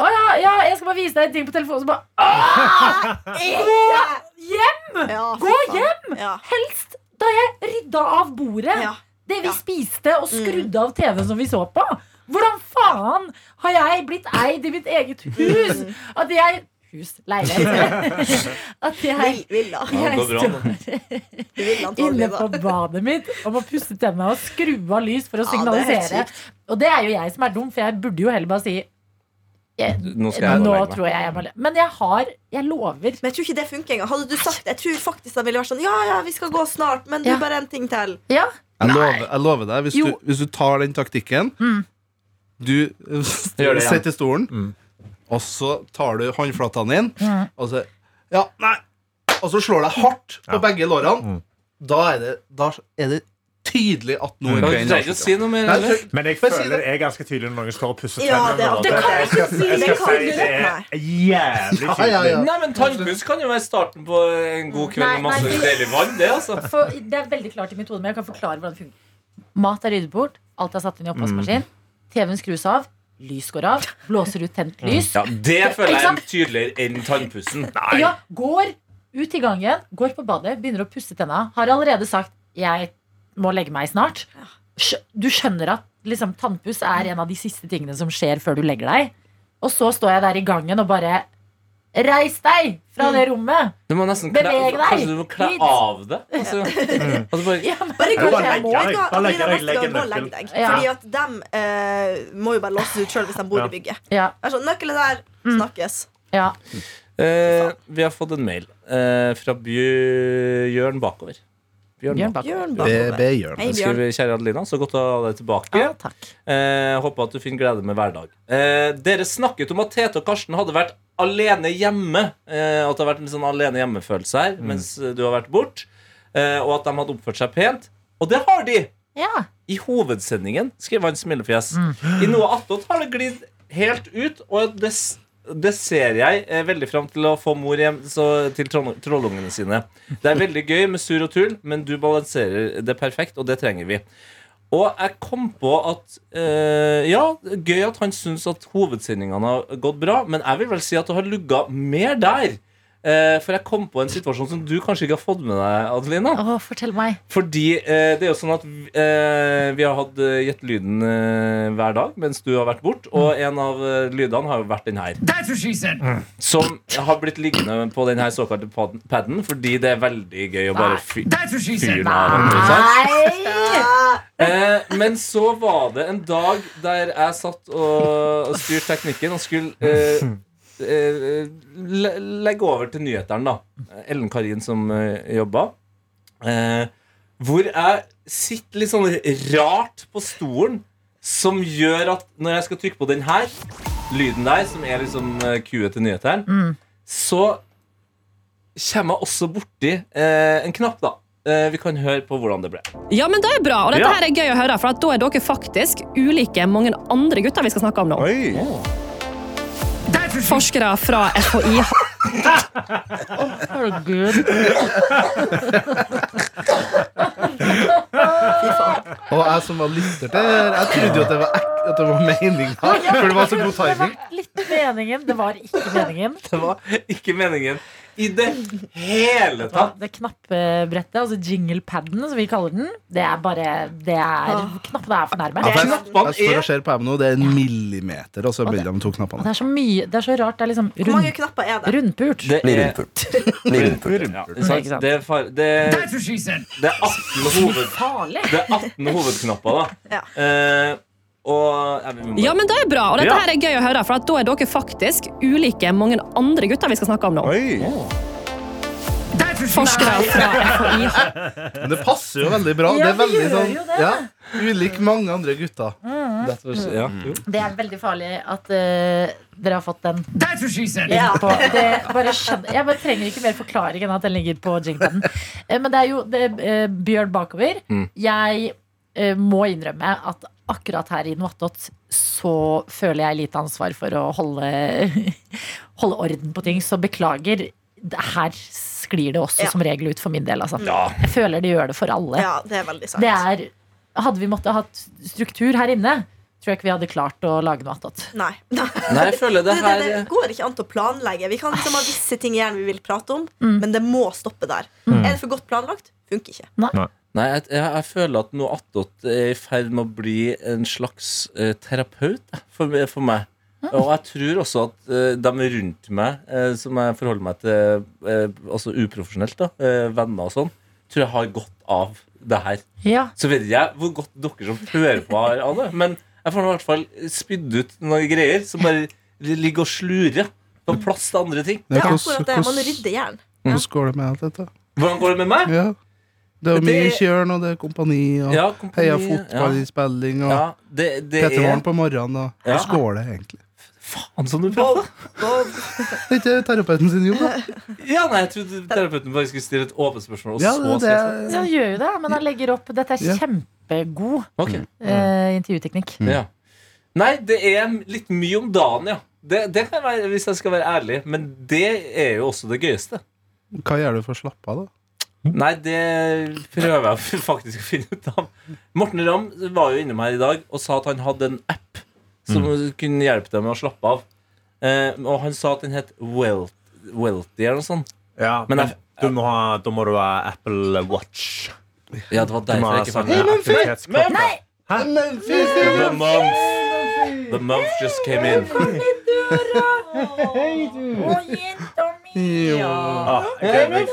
Speaker 2: å ja, ja, jeg skal bare vise deg en ting på telefonen. Så bare «Åh! Gå hjem!
Speaker 4: Ja, fy
Speaker 2: Gå
Speaker 4: faen.
Speaker 2: hjem!
Speaker 4: Ja.
Speaker 2: Helst da jeg rydda av bordet.
Speaker 4: Ja.
Speaker 2: Det vi
Speaker 4: Ja. Mm.
Speaker 2: spiste og skrudde av TV-en som vi så på. Hvordan faen har jeg blitt eid i mitt eget hus?
Speaker 4: Mm.
Speaker 2: At jeg Hus, leilighet. At jeg,
Speaker 4: Vil- Villa.
Speaker 6: Ja, det
Speaker 2: jeg
Speaker 6: går bra,
Speaker 2: står
Speaker 4: Villa
Speaker 2: inne
Speaker 4: antagelig,
Speaker 2: på
Speaker 4: da.
Speaker 2: badet mitt og må pusse tennene og skru av lys for å
Speaker 4: Ja, det er helt
Speaker 2: signalisere. og det er jo jeg som er dum, for jeg burde jo heller bare si jeg,
Speaker 6: Nå skal jeg gå
Speaker 2: nå
Speaker 6: og legge meg.
Speaker 2: tror jeg jeg må le. Men jeg har Jeg lover.
Speaker 4: Men jeg tror ikke det funker engang. Hadde du sagt Jeg tror faktisk de ville vært sånn Ja, ja, vi skal gå snart, men du,
Speaker 2: Ja.
Speaker 4: bare en ting til.
Speaker 2: Ja.
Speaker 5: Jeg lover, jeg lover deg, hvis du,
Speaker 2: Jo.
Speaker 5: hvis du tar den taktikken
Speaker 2: Mm.
Speaker 5: Du
Speaker 6: Gjør det igjen. Mm.
Speaker 5: sitter i stolen, og så tar du håndflatene inn, og så Ja, nei! Og så slår deg hardt på begge lårene.
Speaker 6: Mm.
Speaker 5: Da, er det, da er det tydelig at nå er
Speaker 6: Men Mm. Du
Speaker 5: kvelden
Speaker 6: trenger ikke å si noe mer. Eller?
Speaker 5: avsluttet.
Speaker 3: Men jeg
Speaker 5: Bare si
Speaker 3: føler
Speaker 5: det.
Speaker 3: det er ganske tydelig når noen står og pusser
Speaker 4: Ja,
Speaker 3: tennene.
Speaker 4: det er-
Speaker 3: og
Speaker 4: det
Speaker 3: det-
Speaker 4: kan
Speaker 3: jeg skal-
Speaker 4: du si,
Speaker 3: jeg
Speaker 4: det
Speaker 3: skal
Speaker 4: kan
Speaker 3: si
Speaker 4: du
Speaker 3: det
Speaker 4: rett
Speaker 3: er jævlig
Speaker 5: Ja, ja, ja.
Speaker 3: tydelig.
Speaker 6: Nei, men Tannpuss kan jo være starten på en god kveld med
Speaker 2: Nei, nei,
Speaker 6: masse
Speaker 2: det-
Speaker 6: deilig vann. Det, altså.
Speaker 2: For det er veldig klart i mitt hode, men jeg kan forklare hvordan det fungerer. Mat er ryddet bort, alt er satt inn i oppvaskmaskin, TV-en skrus av, lys går av, blåser ut tent lys.
Speaker 6: Mm. Ja, det
Speaker 2: Ikke
Speaker 6: føler jeg er
Speaker 2: sant?
Speaker 6: tydeligere enn tannpussen.
Speaker 2: Ja, går ut i gangen, går på badet, begynner å pusse tenna. Har allerede sagt 'jeg må legge meg snart'. Skj- Du skjønner at liksom, tannpuss er en av de siste tingene som skjer før du legger deg. Og så står jeg der i gangen og bare Reis deg
Speaker 4: Mm.
Speaker 2: fra det rommet!
Speaker 6: Du må nesten kle,
Speaker 2: Beveg deg!
Speaker 6: Kanskje du må kle
Speaker 2: Litt.
Speaker 6: av det? Altså, altså bare,
Speaker 2: Ja, men,
Speaker 4: Bare gå
Speaker 3: Bare
Speaker 4: og
Speaker 3: legg
Speaker 4: legg deg. Vet du hva,
Speaker 3: deg. Bare legg
Speaker 4: Adelina,
Speaker 3: deg,
Speaker 4: neste
Speaker 3: legg
Speaker 4: gang,
Speaker 3: en
Speaker 4: Gå og legg
Speaker 3: nøkkel.
Speaker 4: deg.
Speaker 2: Ja.
Speaker 4: Fordi at dem eh, må jo bare låses ut sjøl hvis de bor
Speaker 3: Ja.
Speaker 4: i bygget.
Speaker 2: ja,
Speaker 4: Altså, nøkkelen der snakkes.
Speaker 2: ja.
Speaker 6: eh, vi har fått en mail eh, fra Bjørn Bakover.
Speaker 2: Bjørn
Speaker 6: Bjørn Bakover.
Speaker 4: Bjørn
Speaker 5: Be,
Speaker 4: bakover.
Speaker 5: be Jørn.
Speaker 4: Hei, Bjørn.
Speaker 6: Skriver, Kjære Adelina, så godt å ha deg tilbake.
Speaker 2: Ja, takk.
Speaker 6: Eh, håper at du finner glede med hver dag. Eh, dere snakket om at Tete og Karsten hadde vært alene hjemme. Eh, at det har vært en sånn alene hjemme-følelse her mens eh, du har vært bort. Eh, og at de hadde oppført seg pent. Og det har de!
Speaker 2: Ja.
Speaker 6: I hovedsendingen skrev han smilefjes. I noe attåt har det glidd helt ut, og det, s- det ser jeg eh, veldig fram til å få mor hjem så, til troll- trollungene sine. Det er veldig gøy med sur og tull, men du balanserer det perfekt, og det trenger vi. Og jeg kom på at eh, Ja, gøy at han syns at hovedsendingene har gått bra, men jeg vil vel si at det har lugga mer der. Eh, for jeg kom på en situasjon som du kanskje ikke har fått med deg, Adelina.
Speaker 2: Å, fortell meg.
Speaker 6: Fordi eh, det er jo sånn at eh, vi har hatt eh, Gjett lyden eh, hver dag mens du har vært bort, og en av eh, lydene har jo vært den her. Som har blitt liggende på den her såkalte pad- paden, fordi det er veldig gøy å bare fy- fyre den av. ikke sant?
Speaker 2: Nei!
Speaker 6: Eh, men så var det en dag der jeg satt og, og styrte teknikken og skulle eh, eh, le, legge over til nyhetene, da. Ellen Karin som eh, jobba. Eh, hvor jeg sitter litt sånn rart på stolen, som gjør at når jeg skal trykke på den her, lyden der, som er liksom eh, cue til nyhetene, så kommer jeg også borti eh, en knapp, da. Eh, vi kan høre på hvordan det ble.
Speaker 9: Ja, men det er bra, og dette
Speaker 6: Ja.
Speaker 9: her er gøy å høre, for at da er dere faktisk ulike mange andre gutter vi skal snakke om nå. Forskere fra FHI
Speaker 2: Herregud.
Speaker 5: Og jeg som var lytter til Jeg trodde jo at det var, ek- at det var meninga, for det var så god
Speaker 2: Det
Speaker 5: timing.
Speaker 2: var litt meningen. Det var ikke meningen.
Speaker 6: Det var ikke meningen i det hele
Speaker 2: Ja,
Speaker 6: tatt.
Speaker 2: det knappebrettet, altså jinglepaden som vi kaller den, det er bare det er, Knappene er for nærme.
Speaker 5: Ja, for jeg,
Speaker 6: Knappene
Speaker 5: jeg står
Speaker 6: er-
Speaker 5: og ser på dem nå, det er en millimeter altså, mellom de to
Speaker 2: Det
Speaker 5: knappene.
Speaker 2: er så mye Det er så rart. Det er liksom
Speaker 4: Hvor mange
Speaker 2: rund,
Speaker 4: knapper er det?
Speaker 2: rundpult.
Speaker 6: Det er, Ja, ikke sant?
Speaker 2: Ikke sant?
Speaker 6: det er, far, det er, det er 18 hoved,
Speaker 2: Farlig.
Speaker 6: det er 18 hovedknapper, da. Eh, og ja, men vi må-
Speaker 9: Ja, men det er bra, og dette
Speaker 6: Ja.
Speaker 9: her er gøy å høre, for at da er dere faktisk ulike mange andre gutter vi skal snakke om nå. Forskere fra FHI
Speaker 5: Men det passer jo veldig bra.
Speaker 2: Ja,
Speaker 5: Det er
Speaker 2: det
Speaker 5: veldig
Speaker 2: gjør
Speaker 5: sånn
Speaker 2: jo det.
Speaker 5: ja, Ulik mange andre gutter.
Speaker 6: That's what- ja, jo.
Speaker 2: Det er veldig farlig at eh, dere har fått den.
Speaker 4: Ja.
Speaker 2: På. Det, bare skjønner, jeg bare trenger ikke mer forklaring enn at den ligger på jinglepaden. Eh, Men det er jo det, er, eh, Bjørn bakover.
Speaker 4: Mm.
Speaker 2: Jeg eh, må innrømme at akkurat her i Noatot så føler jeg lite ansvar for å holde, holde orden på ting, så beklager. Det- Her sklir det også
Speaker 4: Ja.
Speaker 2: som regel ut for min del. Altså.
Speaker 6: Ja.
Speaker 2: Jeg føler det gjør det for alle.
Speaker 4: Ja, det er veldig sant.
Speaker 2: Det er, hadde vi måttet hatt struktur her inne, tror jeg ikke vi hadde klart å lage noe attåt.
Speaker 4: Nei. Nei.
Speaker 6: Nei, jeg føler det
Speaker 4: Det, det,
Speaker 6: her
Speaker 4: det går ikke an å planlegge. Vi kan liksom ha visse ting igjen vi vil prate om,
Speaker 2: Mm.
Speaker 4: men det må stoppe der. Er det for godt planlagt? Funker ikke.
Speaker 6: Nei, jeg, jeg, jeg føler at noe attåt er i ferd med å bli en slags eh, terapeut eh, for, for meg. Og jeg tror også at eh, de rundt meg, eh, som jeg forholder meg til eh, altså uprofesjonelt, da, eh, venner og sånn, tror jeg har godt av det her.
Speaker 2: Ja.
Speaker 6: Så vet ikke jeg hvor godt dere som hører på har av det, men jeg får nå i hvert fall spydd ut noen greier som bare ligger og slurer på plass til andre ting.
Speaker 4: Det er akkurat det. Man rydder jern.
Speaker 5: hvordan går det med alt dette?
Speaker 6: Hvordan går det med meg?
Speaker 5: Ja. Det er jo mye
Speaker 6: Det-
Speaker 5: kjørn, og det er kompani, og
Speaker 6: Ja,
Speaker 5: heia
Speaker 6: kompani,
Speaker 5: fotballinnspilling,
Speaker 6: Ja,
Speaker 5: og
Speaker 6: ja det, det
Speaker 5: Petter
Speaker 6: er
Speaker 5: Morn på morgenen, og
Speaker 6: Ja.
Speaker 5: hvordan går det egentlig?
Speaker 6: Faen som du prater!
Speaker 5: Det er ikke terapeuten sin jobb, da.
Speaker 6: Ja, nei, jeg trodde terapeuten bare skulle stille et åpent spørsmål. Og
Speaker 5: Ja,
Speaker 6: så
Speaker 5: det,
Speaker 6: skal
Speaker 2: Ja, han gjør jo det, men han legger opp Dette
Speaker 5: Ja.
Speaker 2: er kjempegod
Speaker 6: jeg svare.
Speaker 2: eh, intervjuteknikk.
Speaker 6: Ok, Mm. ja. Nei, det er litt mye om dagen, ja. Det, det kan være, hvis jeg skal være ærlig. Men det er jo også det gøyeste.
Speaker 5: Hva gjør du for å slappe av, da?
Speaker 6: Nei, det prøver jeg faktisk å finne ut av. Morten Ramm var jo innom her i dag og sa at han hadde en app som kunne hjelpe deg med å slappe av. Eh, og han sa at den het Welt, Welty eller noe sånt.
Speaker 3: Ja,
Speaker 6: Men
Speaker 3: men
Speaker 6: jeg-
Speaker 3: du må ha, da må du ha Apple Watch.
Speaker 6: Ja, det var
Speaker 3: Du må
Speaker 6: derfor
Speaker 3: ha
Speaker 6: jeg ikke
Speaker 3: sånn
Speaker 6: fant den.
Speaker 3: aktivitetsklokka.
Speaker 6: The month. The month just came in.
Speaker 2: Å, jenta mi! Ja.
Speaker 3: Ah, jeg, gleder meg.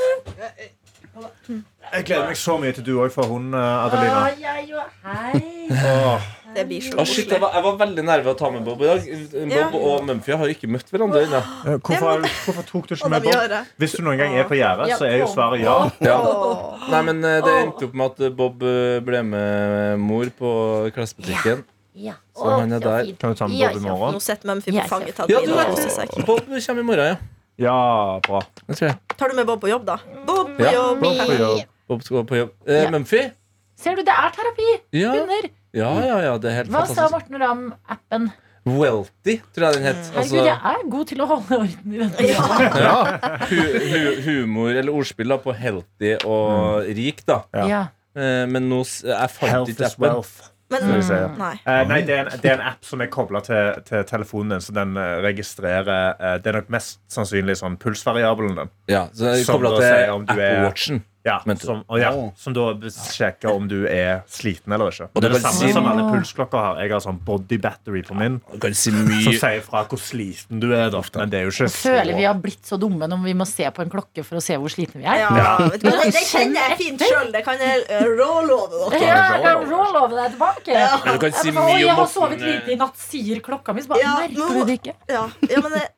Speaker 3: jeg gleder meg så mye til du òg får hund, eh, Adelina.
Speaker 2: Ah, jeg og hei.
Speaker 3: Åh,
Speaker 4: Det blir så
Speaker 6: Å, shit, jeg,
Speaker 4: koselig.
Speaker 6: var, jeg var veldig nerve av å ta med Bob i dag. Bob
Speaker 4: Ja.
Speaker 6: og Mumphy har ikke møtt hverandre ennå.
Speaker 3: eh, hvorfor, hvorfor tok du ikke
Speaker 4: Og de
Speaker 3: med Bob?
Speaker 4: gjør det.
Speaker 3: Hvis du noen gang er på gjerdet, så er jo svaret ja.
Speaker 4: Åh.
Speaker 6: Nei, men eh, det endte opp med at eh, Bob eh, ble med mor på klesbutikken.
Speaker 2: Ja.
Speaker 6: Så
Speaker 2: Å,
Speaker 6: han er
Speaker 2: så
Speaker 6: der.
Speaker 2: fint.
Speaker 3: Kan du ta med
Speaker 2: Ja,
Speaker 3: Bob i
Speaker 2: så
Speaker 3: morgen?
Speaker 4: Nå setter Mumphy
Speaker 2: Ja,
Speaker 4: på
Speaker 2: så-
Speaker 4: fanget til
Speaker 6: Ja, du
Speaker 4: Adelina og koser seg.
Speaker 6: vet Bob kommer i morgen, ja.
Speaker 3: Ja, bra.
Speaker 6: Det tror jeg.
Speaker 4: Tar du med Bob på jobb, da? Bob på
Speaker 6: Ja.
Speaker 4: jobb!
Speaker 3: Bob på jobb.
Speaker 6: Bob skal på jobb. Eh,
Speaker 2: Ja.
Speaker 6: Mumphy?
Speaker 2: Ser du, det er terapi.
Speaker 6: Ja.
Speaker 2: Hunder.
Speaker 6: ja, ja, ja. Det er helt
Speaker 2: Hva sa
Speaker 6: fantastisk.
Speaker 2: Morten Ramm-appen?
Speaker 6: Welty, tror jeg den het. Altså,
Speaker 2: Herregud, jeg er god til å holde orden i denne.
Speaker 6: hu hu humor, eller ordspill, da, på healthy og rik, da.
Speaker 3: Ja.
Speaker 2: Ja.
Speaker 6: Eh, men nå s- Jeg fant
Speaker 3: Mm. Health
Speaker 6: ikke
Speaker 3: is
Speaker 6: appen.
Speaker 3: wealth.
Speaker 4: Men
Speaker 3: Skal vi se.
Speaker 4: nei.
Speaker 3: Eh, nei, det er, en, det er en app som er kobla til, til telefonen din, så den eh, registrerer eh, Det er nok mest sannsynlig sånn pulsvariabelen din.
Speaker 6: Ja, så jeg
Speaker 3: Som
Speaker 6: kobla
Speaker 3: da
Speaker 6: til
Speaker 3: sier om du
Speaker 6: Apple
Speaker 3: er-
Speaker 6: Watchen.
Speaker 3: Ja,
Speaker 6: Men-
Speaker 3: som, og ja,
Speaker 5: Åh.
Speaker 3: som da sjekker om du er sliten eller ikke.
Speaker 6: Og
Speaker 3: Det er det
Speaker 6: det kan
Speaker 3: samme
Speaker 6: si-
Speaker 3: som alle pulsklokker har. Jeg har sånn body battery på min,
Speaker 6: Du kan si
Speaker 3: som
Speaker 6: mye
Speaker 3: sier fra hvor sliten du er. Da. Men det er jo ikke
Speaker 2: Føler vi har blitt så dumme når vi må se på en klokke for å se hvor slitne vi er.
Speaker 4: Ja, vet du hva, det, det kjenner jeg fint sjøl. Det kan jeg eh, rå love dere.
Speaker 2: Ja, jeg kan rå love deg tilbake.
Speaker 4: Ja.
Speaker 6: Men du kan si
Speaker 2: Jeg, bare, «Å,
Speaker 6: mye
Speaker 2: jeg
Speaker 6: om
Speaker 2: har sovet lite i
Speaker 6: Morten. eh?
Speaker 2: natt, sier klokka mi. Så bare,
Speaker 4: Ja,
Speaker 2: merker du
Speaker 4: nå-
Speaker 2: det ikke?
Speaker 4: Ja, ja men jeg er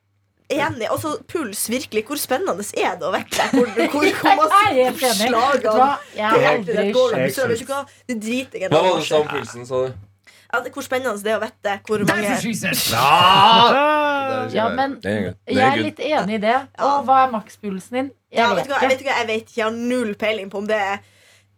Speaker 4: enig. Altså, puls, virkelig. Hvor spennende er det å vekke deg? Hvor, hvor, hvor
Speaker 2: Jeg er helt
Speaker 4: masse
Speaker 2: enig. Vet
Speaker 4: slag
Speaker 2: du
Speaker 4: av
Speaker 2: hva? Jeg
Speaker 4: Jeg,
Speaker 2: aldri skjønt.
Speaker 3: Jeg
Speaker 4: vet du hva? Det driter jeg
Speaker 6: Hva var det
Speaker 4: i.
Speaker 6: som pulsen, sa du?
Speaker 4: Ja, det- Hvor spennende det er å vite hvor mange
Speaker 3: Ah!
Speaker 5: Det er
Speaker 2: Ja,
Speaker 5: ikke-
Speaker 2: men
Speaker 6: Det er en gang. Det
Speaker 2: jeg
Speaker 6: er
Speaker 2: er
Speaker 6: good.
Speaker 2: litt enig i det. Å, hva er makspulsen din?
Speaker 4: ja,
Speaker 2: Jeg
Speaker 4: vet
Speaker 2: vet
Speaker 4: du hva, jeg
Speaker 2: ikke.
Speaker 4: vet ikke, jeg vet ikke, jeg har null peiling på om det er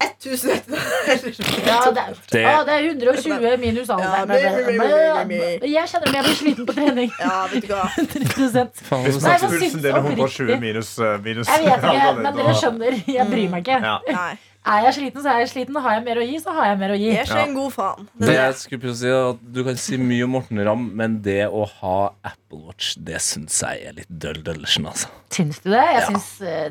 Speaker 4: 1100 eller
Speaker 2: Ja, det, er,
Speaker 6: Det-
Speaker 2: Å, det er 120 minus
Speaker 4: Ja,
Speaker 2: alderen.
Speaker 4: mi, mi, mi, mi, mi, mi.
Speaker 2: Jeg kjenner at jeg blir sliten på trening.
Speaker 4: Ja, vet du hva.
Speaker 2: 100
Speaker 6: Faen,
Speaker 3: Hvis
Speaker 6: så
Speaker 2: Nei,
Speaker 6: snakker
Speaker 2: hva
Speaker 6: vi-
Speaker 2: syns
Speaker 3: pulsen din er
Speaker 2: oppriktig?
Speaker 3: 120 minus, eh, minus
Speaker 2: Jeg vet ikke,
Speaker 3: alderen din,
Speaker 2: men dere
Speaker 3: da-
Speaker 2: skjønner. Jeg bryr meg ikke.
Speaker 3: Ja.
Speaker 4: Nei.
Speaker 2: Er jeg sliten, så er jeg sliten. Har jeg mer å gi, så har jeg mer å gi.
Speaker 4: Jeg er ikke en god faen. Det
Speaker 6: Det
Speaker 4: er
Speaker 6: jeg skulle prøve å si er at Du kan si mye om Morten Ramm, men det å ha Apple Watch, det syns jeg er litt døll døllersen, altså.
Speaker 2: Syns du det? Jeg syns eh,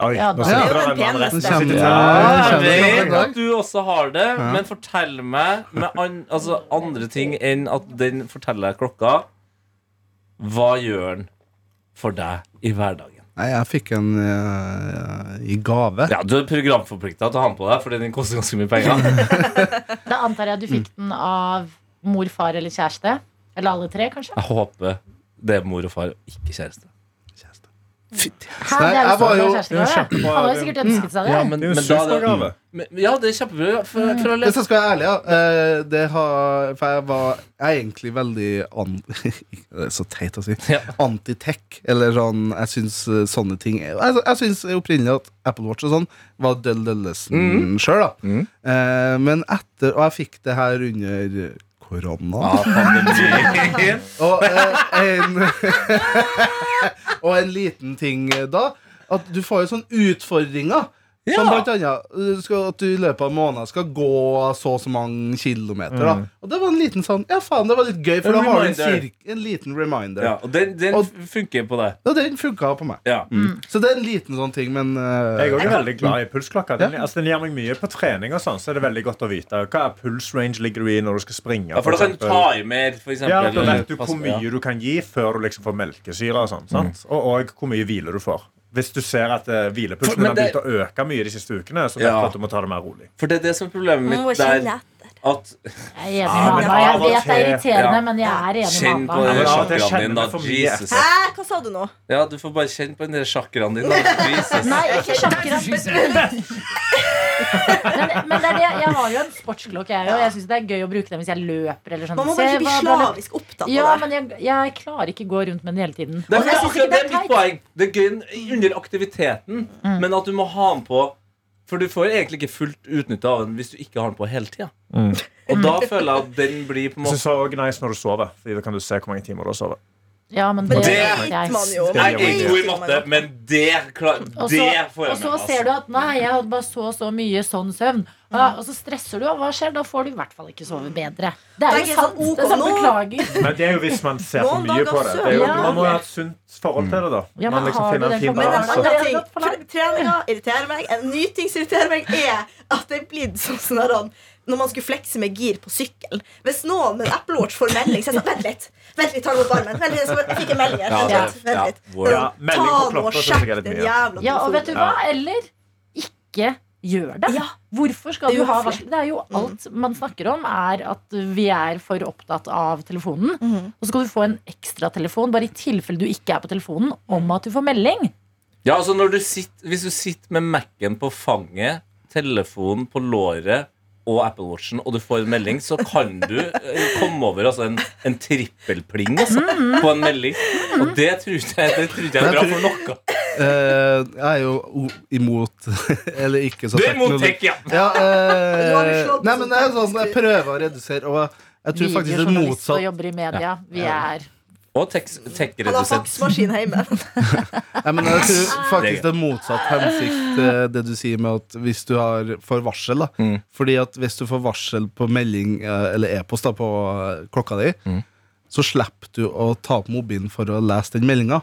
Speaker 3: Oi,
Speaker 2: Ja,
Speaker 3: nå
Speaker 2: da-
Speaker 3: sitter
Speaker 4: Det er
Speaker 3: det
Speaker 4: jo en
Speaker 3: en mann
Speaker 4: penis,
Speaker 3: rett ved
Speaker 4: det.
Speaker 3: siden
Speaker 5: Kjenner-
Speaker 3: av.
Speaker 5: Ja,
Speaker 6: Jeg
Speaker 5: det
Speaker 6: vet
Speaker 5: kjenner-
Speaker 6: at du også har det, men fortell meg med an, altså andre ting enn at den forteller deg klokka. Hva gjør den for deg i hverdagen?
Speaker 5: Nei, jeg fikk en eh, i gave.
Speaker 6: Ja, Du er programforplikta til å ha den på deg, fordi den koster ganske mye penger.
Speaker 2: Da antar jeg du fikk den av mor, far eller kjæreste. Eller alle tre, kanskje?
Speaker 6: Jeg håper det er mor og far, og ikke kjæreste. Fytti
Speaker 2: Hæ,
Speaker 5: Nei,
Speaker 2: det er jo
Speaker 5: jeg var
Speaker 2: sånn det
Speaker 5: jo-
Speaker 2: er kjæreste,
Speaker 3: kjempebra.
Speaker 2: Han har jo sikkert ønsket seg det.
Speaker 6: men,
Speaker 3: Det er jo en
Speaker 6: men da- Mm.
Speaker 3: supergave. Mm.
Speaker 6: Men- Ja, det er kjempebra. For, for å
Speaker 5: Hvis
Speaker 6: lese
Speaker 5: jeg skal være ærlig, ja. eh, Det har, for jeg var jeg er egentlig veldig an, Det er så teit å si.
Speaker 6: Ja.
Speaker 5: Antitech. Eller sånn Jeg syns sånne ting er- Jeg, jeg syns opprinnelig at Apple Watch og sånn var døll døllesen sjøl, da. Eh, men etter Og jeg fikk det her under korona. Og eh, en Og en liten ting eh, da At du får jo sånne utfordringer Som
Speaker 6: Ja.
Speaker 5: blant annet eh, skal, At du i løpet av måneden skal gå Så og så mange kilometer da Og det var en liten sånn, ja faen det var litt gøy For
Speaker 6: Mm. En
Speaker 5: da har du en,
Speaker 6: reminder.
Speaker 5: cirk- en liten reminder
Speaker 6: ja,
Speaker 5: ja.
Speaker 6: og Den, den
Speaker 5: Og-
Speaker 6: funker på deg.
Speaker 5: den funket på meg
Speaker 6: Ja.
Speaker 3: Mm.
Speaker 5: Så det er en liten sånn ting Men eh,
Speaker 3: Jeg er også veldig glad i pulsklokka. Den, altså, den gir meg mye på trening. og sånn, så er det veldig godt å vite. Hva er puls range ligger du i når du skal springe?
Speaker 6: Ja, for da kan du
Speaker 3: eksempel?
Speaker 6: ta i mer, for eksempel.
Speaker 3: ja, Da
Speaker 6: eller
Speaker 3: vet du
Speaker 6: passe
Speaker 3: hvor
Speaker 6: på, ja.
Speaker 3: mye du kan gi før du liksom får melkesyre. Og sånn, sant? Og, og hvor mye hvile du får. Hvis du ser at eh,
Speaker 6: For-
Speaker 3: hvilepulsen din
Speaker 6: men
Speaker 3: har
Speaker 6: det-
Speaker 3: begynt å øke mye de siste ukene, så vet
Speaker 6: Ja.
Speaker 3: du at du må ta det mer rolig.
Speaker 6: For det er det som er problemet
Speaker 4: Må
Speaker 6: mitt
Speaker 4: kjenne
Speaker 6: der.
Speaker 4: etter.
Speaker 6: At
Speaker 2: Jeg er enig
Speaker 3: Ja,
Speaker 2: med
Speaker 3: men
Speaker 2: mamma. Jeg
Speaker 3: av og
Speaker 2: vet det er
Speaker 3: til-
Speaker 2: irriterende,
Speaker 6: ja.
Speaker 2: men jeg er enig med
Speaker 6: Kjenn på den
Speaker 2: mamma.
Speaker 3: Ja, men av og til
Speaker 6: sjakraen
Speaker 3: kjenner
Speaker 6: din,
Speaker 3: jeg
Speaker 6: da.
Speaker 3: for mye
Speaker 6: Jesus.
Speaker 4: Hæ, hva sa du nå?
Speaker 6: Ja, du får bare kjenne på den der sjakraen din, da. Jesus.
Speaker 2: Nei, ikke sjakkere. Men, men det er det, jeg har jo en sportsklokke, jeg òg. Jeg syns det er gøy å bruke den hvis jeg løper eller sånn.
Speaker 4: Man må
Speaker 2: Se
Speaker 4: bare ikke bli
Speaker 2: hva- hva-
Speaker 4: slavisk opptatt
Speaker 2: Ja,
Speaker 4: av det.
Speaker 2: men jeg, jeg klarer ikke å gå rundt med den hele tiden.
Speaker 6: Det er,
Speaker 2: Og jeg synes ikke
Speaker 6: akkurat, det er
Speaker 2: det er
Speaker 6: mitt
Speaker 2: teit.
Speaker 6: poeng. Det er gøy under aktiviteten, men at du må ha den på For du får egentlig ikke fullt utnytta av den hvis du ikke har den på hele tida. Og da føler jeg at den blir på en
Speaker 3: Jeg
Speaker 6: måte
Speaker 3: synes det er også nice når du sover, Fordi da kan du se hvor mange timer du har sovet.
Speaker 2: Ja, men
Speaker 4: Men
Speaker 2: det,
Speaker 4: det
Speaker 6: Det-
Speaker 2: jeg-
Speaker 4: vet man jo.
Speaker 3: Nei,
Speaker 6: Jeg er ikke god i
Speaker 4: Man
Speaker 6: matte,
Speaker 4: vet jo.
Speaker 6: men det, klar,
Speaker 2: Og så, og
Speaker 6: det får jeg med
Speaker 2: så
Speaker 6: meg.
Speaker 2: ser du
Speaker 6: altså.
Speaker 2: at nei, jeg hadde bare så og så mye sånn søvn. Ja, og så stresser du, og hva skjer? Da får du i hvert fall ikke sove bedre. Det er
Speaker 4: Det er
Speaker 2: jo
Speaker 4: ikke
Speaker 2: sant.
Speaker 4: sånn, ok,
Speaker 2: det er sant,
Speaker 4: nå-
Speaker 2: Beklager.
Speaker 3: Men det er jo hvis man ser for
Speaker 4: Noen
Speaker 3: mye
Speaker 4: dager
Speaker 3: på det. det er jo,
Speaker 2: søvn.
Speaker 3: man må ha et sunt forhold til det, da.
Speaker 2: Ja, men
Speaker 3: man liksom
Speaker 2: har du
Speaker 3: finner
Speaker 2: den
Speaker 3: en fin
Speaker 4: Men en
Speaker 2: formen-
Speaker 3: balanse.
Speaker 4: annen
Speaker 2: Altså.
Speaker 4: ting tre- Treninga irriterer meg. En ny ting som irriterer meg, er at det er blitt sånn sånn her, han, når man skulle flekse med gir på sykkel. Hvis noen med en Apple Watch får melding, så er jeg sånn Vent litt! Vent litt, ta den mot armen. Vent litt, jeg skal- jeg fikk en melding her.
Speaker 6: Ja,
Speaker 4: Vent litt,
Speaker 6: det-
Speaker 4: vent
Speaker 6: ja,
Speaker 4: litt.
Speaker 6: wow.
Speaker 4: Det er
Speaker 3: Ja,
Speaker 4: sånn,
Speaker 3: melding på
Speaker 4: Ta nå
Speaker 3: klokka
Speaker 4: og
Speaker 3: synes jeg
Speaker 4: sjekk
Speaker 3: er litt
Speaker 4: den
Speaker 3: mye.
Speaker 4: jævla
Speaker 2: Ja, og vet du
Speaker 4: telefonen.
Speaker 2: hva? Eller ikke gjør det.
Speaker 4: Ja.
Speaker 2: Hvorfor skal
Speaker 4: Det er
Speaker 2: du
Speaker 4: Mm.
Speaker 2: ha
Speaker 4: uhøflig.
Speaker 2: varsel? Det er jo alt man snakker om, er at vi er for opptatt av telefonen.
Speaker 4: Mm.
Speaker 2: Og så skal du få en ekstratelefon, bare i tilfelle du ikke er på telefonen, om at du får melding.
Speaker 6: Ja, altså når du sitter, Hvis du sitter med Mac-en på fanget, telefonen på låret og Apple Watchen, og du får en melding, så kan du eh, komme over altså, en, en trippelpling altså,
Speaker 2: Mm.
Speaker 6: på en melding. Og det trodde jeg, det trodde jeg
Speaker 5: Men
Speaker 6: var
Speaker 5: jeg
Speaker 6: bra for noe.
Speaker 5: Eh, jeg er jo o- imot Eller ikke så
Speaker 6: Du er
Speaker 5: teknologi-
Speaker 6: imot tech, ja.
Speaker 5: Ja, eh,
Speaker 4: Nå har vi slått
Speaker 5: nei,
Speaker 4: oss
Speaker 5: men
Speaker 4: opp
Speaker 5: jeg, er
Speaker 4: her.
Speaker 5: sånn, jeg prøver å redusere, og jeg tror faktisk det er
Speaker 2: journalist og
Speaker 5: motsatt.
Speaker 2: jobber i media. Vi er
Speaker 6: Og tech-
Speaker 4: Han har
Speaker 6: tech-redusent.
Speaker 4: faksmaskin hjemme.
Speaker 5: Nei, men jeg tror faktisk det er motsatt hensikt eh, det du sier med at hvis du har får varsel. da
Speaker 6: Mm.
Speaker 5: Fordi at hvis du får varsel på melding eh, eller e-post da på eh, klokka di,
Speaker 6: Mm.
Speaker 5: så slipper du å ta opp mobilen for å lese den meldinga.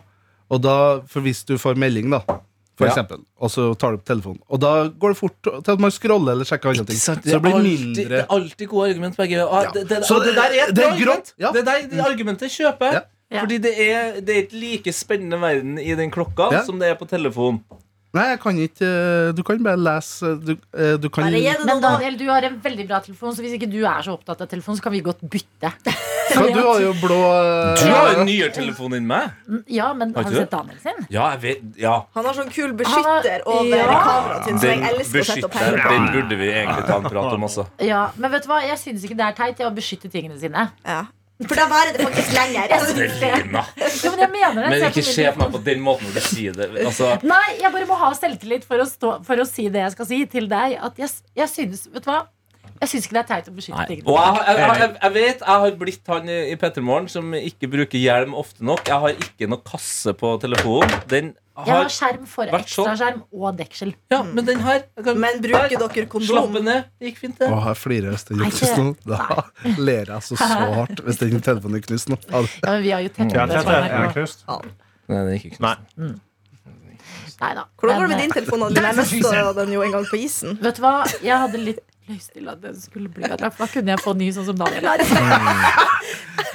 Speaker 5: Og da, for hvis du får melding, da, for
Speaker 6: Ja.
Speaker 5: eksempel, og så tar du opp telefonen, og da går det fort til at man scroller eller sjekker andre ting. Så
Speaker 6: Det
Speaker 5: det
Speaker 6: er
Speaker 5: blir
Speaker 6: alltid, det
Speaker 5: mindre
Speaker 6: er alltid gode argument begge. Ah, det, det,
Speaker 5: Så
Speaker 6: ah, det der er et
Speaker 5: det er
Speaker 6: bra argument.
Speaker 5: grått, ja.
Speaker 6: Det der det argumentet kjøper jeg.
Speaker 2: Ja.
Speaker 6: Fordi det er, det er ikke like spennende verden i den klokka
Speaker 5: Ja.
Speaker 6: som det er på telefon.
Speaker 5: Nei, jeg kan ikke eh, Du kan bare lese eh, Du, eh, du kan
Speaker 4: Bare gi det
Speaker 2: Men
Speaker 4: noen år.
Speaker 2: Daniel, du har en veldig bra telefon, så hvis ikke du er så opptatt av telefon, så kan vi godt bytte.
Speaker 5: Ja, Du har jo blå eh,
Speaker 6: Du har jo en nyere telefon enn meg.
Speaker 2: Ja, men
Speaker 6: Har
Speaker 2: har
Speaker 6: ikke
Speaker 2: du sett Daniel sin?
Speaker 6: Ja, jeg vet, ja.
Speaker 4: Han har sånn kul beskytter
Speaker 2: Han har-
Speaker 4: over
Speaker 2: Ja.
Speaker 4: kameraet sitt, som
Speaker 6: Den
Speaker 4: jeg elsker å sette opp
Speaker 6: beskytter,
Speaker 4: her.
Speaker 6: den burde vi egentlig ta en prat om også.
Speaker 2: Ja, Men vet du hva, jeg syns ikke det er teit jeg, å beskytte tingene sine.
Speaker 4: Ja. For da varer det faktisk lenger.
Speaker 6: Lina.
Speaker 2: Jo, men jeg mener det.
Speaker 6: Men
Speaker 2: Se på
Speaker 6: ikke
Speaker 2: min
Speaker 6: se
Speaker 2: telefon.
Speaker 6: på meg på den måten når du sier det. Altså,
Speaker 2: Nei, jeg bare må ha selvtillit for å, stå, for å si det jeg skal si til deg. At jeg, jeg synes, vet du hva? Jeg syns ikke det er teit å beskytte
Speaker 6: nei.
Speaker 2: tingene.
Speaker 6: Og jeg, jeg, jeg, jeg vet jeg har blitt han i, i Pettermorgen som ikke bruker hjelm ofte nok. Jeg har ikke noe kasse på telefonen. Den
Speaker 2: jeg har
Speaker 6: har
Speaker 2: skjerm for
Speaker 6: vært sånn.
Speaker 2: ekstraskjerm og deksel.
Speaker 6: Ja, men den her jeg kan-
Speaker 4: Men bruker
Speaker 6: Der.
Speaker 4: dere kondom?
Speaker 6: Slappe ned. Det gikk fint, det.
Speaker 5: Å, jeg flirer hvis den
Speaker 2: Nei,
Speaker 5: knust nå.
Speaker 2: ikke-
Speaker 5: Da ler jeg så så hardt hvis den telefonen er knust nå. Ja, det-
Speaker 2: Ja, men vi har jo tett
Speaker 3: Ja,
Speaker 2: det
Speaker 3: Tete,
Speaker 2: fra
Speaker 3: er det
Speaker 2: NRK.
Speaker 3: knust?
Speaker 6: Nei, det gikk ikke.
Speaker 3: Nei.
Speaker 2: Neida.
Speaker 4: Hvordan går
Speaker 2: Men,
Speaker 4: det med din telefon? Adeline? Jeg mista den jo en gang på isen.
Speaker 2: eh, Vet du hva? Jeg hadde litt lyst til at den skulle bli ødelagt. for Da kunne jeg få ny sånn som Daniel har.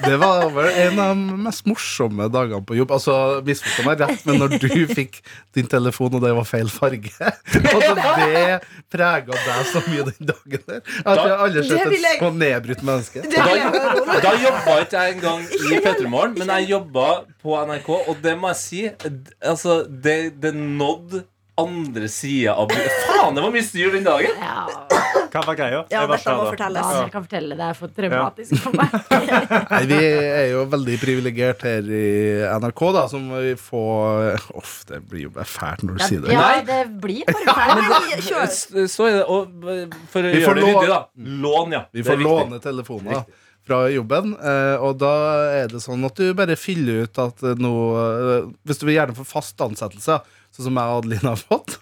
Speaker 5: Det var vel en av de mest morsomme dagene på jobb. Altså, Misforstå meg rett, men når du fikk din telefon, og det var feil farge altså, Det prega deg så mye den dagen der. Jeg tror jeg aldri har
Speaker 4: Det
Speaker 5: sett
Speaker 4: vil jeg-
Speaker 5: et så nedbrutt menneske.
Speaker 4: Det vil jeg høre om.
Speaker 6: Da jobba ikke jeg engang i Petremorgen, men jeg jobba på NRK, og det må jeg si d- Altså, det, det nådde andre sida av bu- Faen, det var mye styr den dagen!
Speaker 2: Ja,
Speaker 3: Hva var greia?
Speaker 4: Ja,
Speaker 3: Jeg var
Speaker 4: dette
Speaker 3: ikke
Speaker 4: må
Speaker 3: der da.
Speaker 4: fortelles.
Speaker 2: Daniel kan fortelle. Det er for traumatisk for meg.
Speaker 5: Nei, vi er jo veldig privilegert her i NRK, da, som vi får Uff, det blir jo bare fælt når du sier det.
Speaker 2: Ja, det blir bare feil.
Speaker 4: Nei, kjør.
Speaker 6: S- Så er det, og eh, for å
Speaker 5: Vi får
Speaker 6: gjøre det
Speaker 5: lån.
Speaker 6: ryddig, da. Lån, ja.
Speaker 5: Vi
Speaker 6: Det er
Speaker 5: får
Speaker 6: viktig.
Speaker 5: låne telefoner fra jobben, eh, og da er det sånn at du bare fyller ut at eh, nå eh, Hvis du vil gjerne få fast ansettelse, sånn som jeg og Adeline har fått,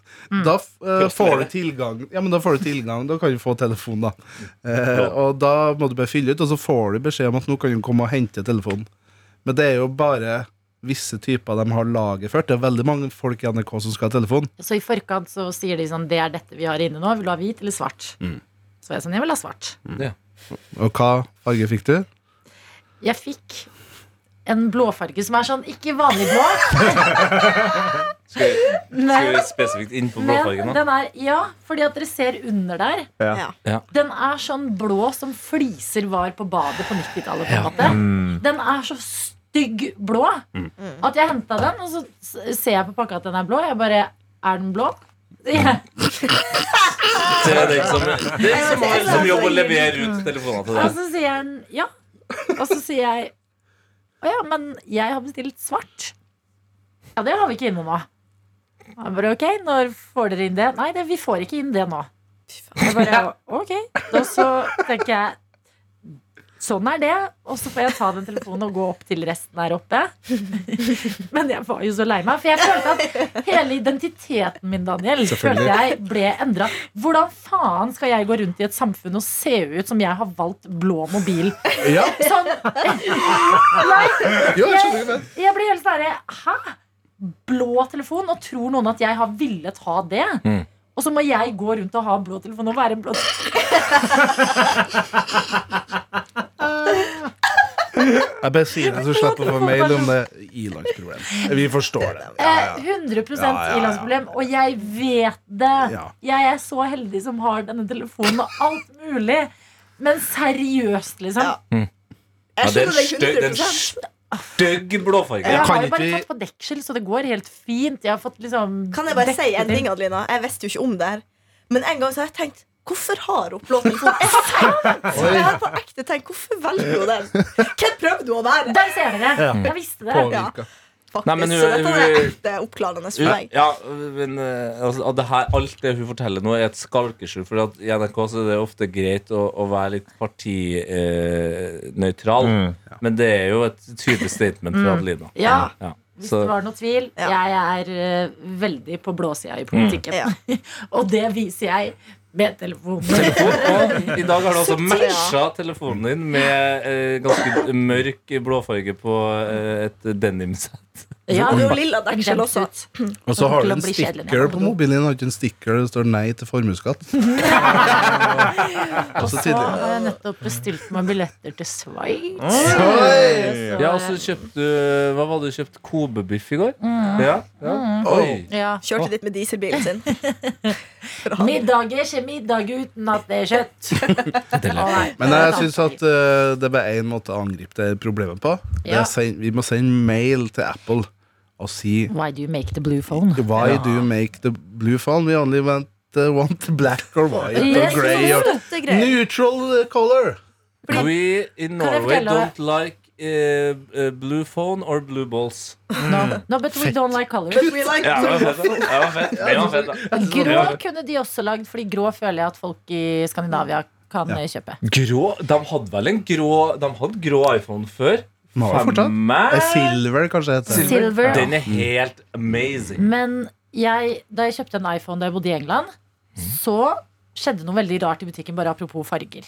Speaker 5: da f- eh, får du tilgang Ja, men da får du tilgang, da kan du få telefon, da. Eh, og da må du bare fylle ut, og så får du beskjed om at nå kan du komme og hente telefonen. Men det er jo bare visse typer de har lagerført. Det er veldig mange folk i NRK som skal ha telefon.
Speaker 2: Så i forkant så sier de sånn Det er dette vi har inne nå. Vil du ha hvit eller svart? Så jeg er sånn Jeg vil ha svart.
Speaker 5: Og hva farge fikk du?
Speaker 2: Jeg fikk en blåfarge som er sånn ikke vanlig blå.
Speaker 6: Skal vi- skal
Speaker 2: Men,
Speaker 6: vi spesifikt inn på
Speaker 2: men
Speaker 6: blåfargen, da?
Speaker 2: den er Ja, fordi at dere ser under der.
Speaker 4: Ja.
Speaker 6: Ja.
Speaker 2: Den er sånn blå som fliser var på badet på 90-tallet. på en måte. Den er så stygg blå
Speaker 6: Mm.
Speaker 2: at jeg henta den, og så s- ser jeg på pakka at den er blå. Jeg bare Er den blå? Ja.
Speaker 6: Det er den som, det er som, har som jobb å levere ut telefoner til
Speaker 2: Og
Speaker 6: deg.
Speaker 2: så sier han ja. Og så sier jeg å ja, men jeg har bestilt svart. Ja, det har vi ikke inne nå. Jeg bare ok, når får dere inn det? Nei, det, vi får ikke inn det nå. Jeg bare ok. Og så tenker jeg sånn er det. Og så får jeg ta den telefonen og gå opp til resten her oppe. Men jeg var jo så lei meg, for jeg følte at hele identiteten min Daniel, følte jeg ble endra. Hvordan faen skal jeg gå rundt i et samfunn og se ut som jeg har valgt blå mobil?
Speaker 5: Ja,
Speaker 2: Sånn, eh,
Speaker 5: jo, jeg skjønner ikke det.
Speaker 2: jeg blir
Speaker 5: Mm.
Speaker 2: helt sånn herre, Hæ? Blå telefon? Og tror noen at jeg har villet ha det? Og så må jeg gå rundt og ha en blå telefon og være en blå telefon.
Speaker 5: Jeg bare sier det, så slipper jeg å få mail om det. Ilandsproblem. Vi forstår det. Ja,
Speaker 2: Eh,
Speaker 5: ja.
Speaker 2: 100
Speaker 5: Ja, ja, ja.
Speaker 2: i-landsproblem. Og jeg vet det.
Speaker 5: Ja.
Speaker 2: Jeg er så heldig som har denne telefonen og alt mulig. Men seriøst, liksom.
Speaker 4: Ja.
Speaker 6: Ja,
Speaker 4: Jeg
Speaker 6: den
Speaker 4: skjønner
Speaker 6: stø-
Speaker 4: deg
Speaker 6: den
Speaker 4: 100
Speaker 6: stygg blåfargen.
Speaker 2: Jeg
Speaker 5: kan
Speaker 2: har jo
Speaker 5: ikke
Speaker 2: bare
Speaker 5: vi-
Speaker 2: fått på deksel, så det går helt fint. Jeg har fått liksom
Speaker 4: Kan jeg bare si en
Speaker 2: dekket
Speaker 4: ting, Adelina? Jeg visste jo ikke om det her. Men en gang så har jeg tenkt Hvorfor har hun blå telefon? Jeg har tenkt, jeg har på ekte tenkt Hvorfor velger hun den? Hvem prøvde hun å
Speaker 2: til.
Speaker 4: være?
Speaker 2: Der ser dere! Jeg visste det.
Speaker 4: Ja.
Speaker 5: Påvirka.
Speaker 4: Faktisk,
Speaker 6: Nei, men hun-
Speaker 4: så dette er
Speaker 6: hun-
Speaker 4: ekte oppklarende for
Speaker 6: Ja,
Speaker 4: meg.
Speaker 6: ja, men eh, altså, at det her, Alt det hun forteller nå, er et skalkeskjul. For at i NRK så er det ofte greit å, å være litt eh, partinøytral. Men det er jo et tydelig statement fra Adelina.
Speaker 2: Ja. Hvis
Speaker 6: Så
Speaker 2: det var noe tvil.
Speaker 4: Ja. Mm.
Speaker 2: Jeg er eh, veldig på blåsida i politikken. og det viser jeg med telefonen.
Speaker 6: telefon, og i dag har du også matcha telefonen din med eh, ganske mørk blåfarge på eh, et denimsett.
Speaker 2: Ja,
Speaker 4: Det er jo lilla deksel
Speaker 2: glemt
Speaker 4: også.
Speaker 2: ut.
Speaker 5: Og så har du en
Speaker 2: Blir kjedelig når
Speaker 5: sticker
Speaker 2: jeg kommer
Speaker 5: på
Speaker 2: på do.
Speaker 5: mobilen din. Har du ikke en sticker det står 'nei til formuesskatt'?
Speaker 2: Og så
Speaker 5: tidlig.
Speaker 2: har jeg nettopp bestilt meg billetter til Sveits. eh,
Speaker 3: Oi!
Speaker 6: Ja, og så kjøpte du eh, Hva var det du kjøpte? Kobebiff i går?
Speaker 2: Mm.
Speaker 6: Ja, ja. Oi.
Speaker 2: Ja.
Speaker 4: Kjørte dit med dieselbilen sin. For å ha den.
Speaker 2: Middag er ikke middag uten at det er kjøtt. Å, nei.
Speaker 5: Men jeg syns at eh, det er bare én måte å angripe det problemet på. Det er
Speaker 2: Ja.
Speaker 5: send, vi må sende mail til Apple og si
Speaker 2: Why do you make the blue phone?
Speaker 5: Why do you make the blue phone? We only want, uh, want black or white or
Speaker 2: Yes.
Speaker 5: grey or
Speaker 4: Det er greit.
Speaker 5: neutral color.
Speaker 6: We
Speaker 2: jeg
Speaker 6: in Norway
Speaker 2: fortelle deg-
Speaker 6: don't like eh, eh, blue phone or blue balls.
Speaker 2: No, no but we don't like colors.
Speaker 4: But we like blue.
Speaker 2: Grå kunne de også lagd, fordi grå føler jeg at folk i Skandinavia kan eh, kjøpe.
Speaker 6: Grå De hadde vel en grå De hadde grå iPhone før?
Speaker 5: Må ha fortsatt.
Speaker 6: Faen
Speaker 5: Eh,
Speaker 6: meg.
Speaker 5: Silver, kanskje det heter.
Speaker 2: Silver.
Speaker 6: Den er helt amazing.
Speaker 2: Men jeg, da jeg kjøpte en iPhone da jeg bodde i England, så skjedde noe veldig rart i butikken, bare apropos farger.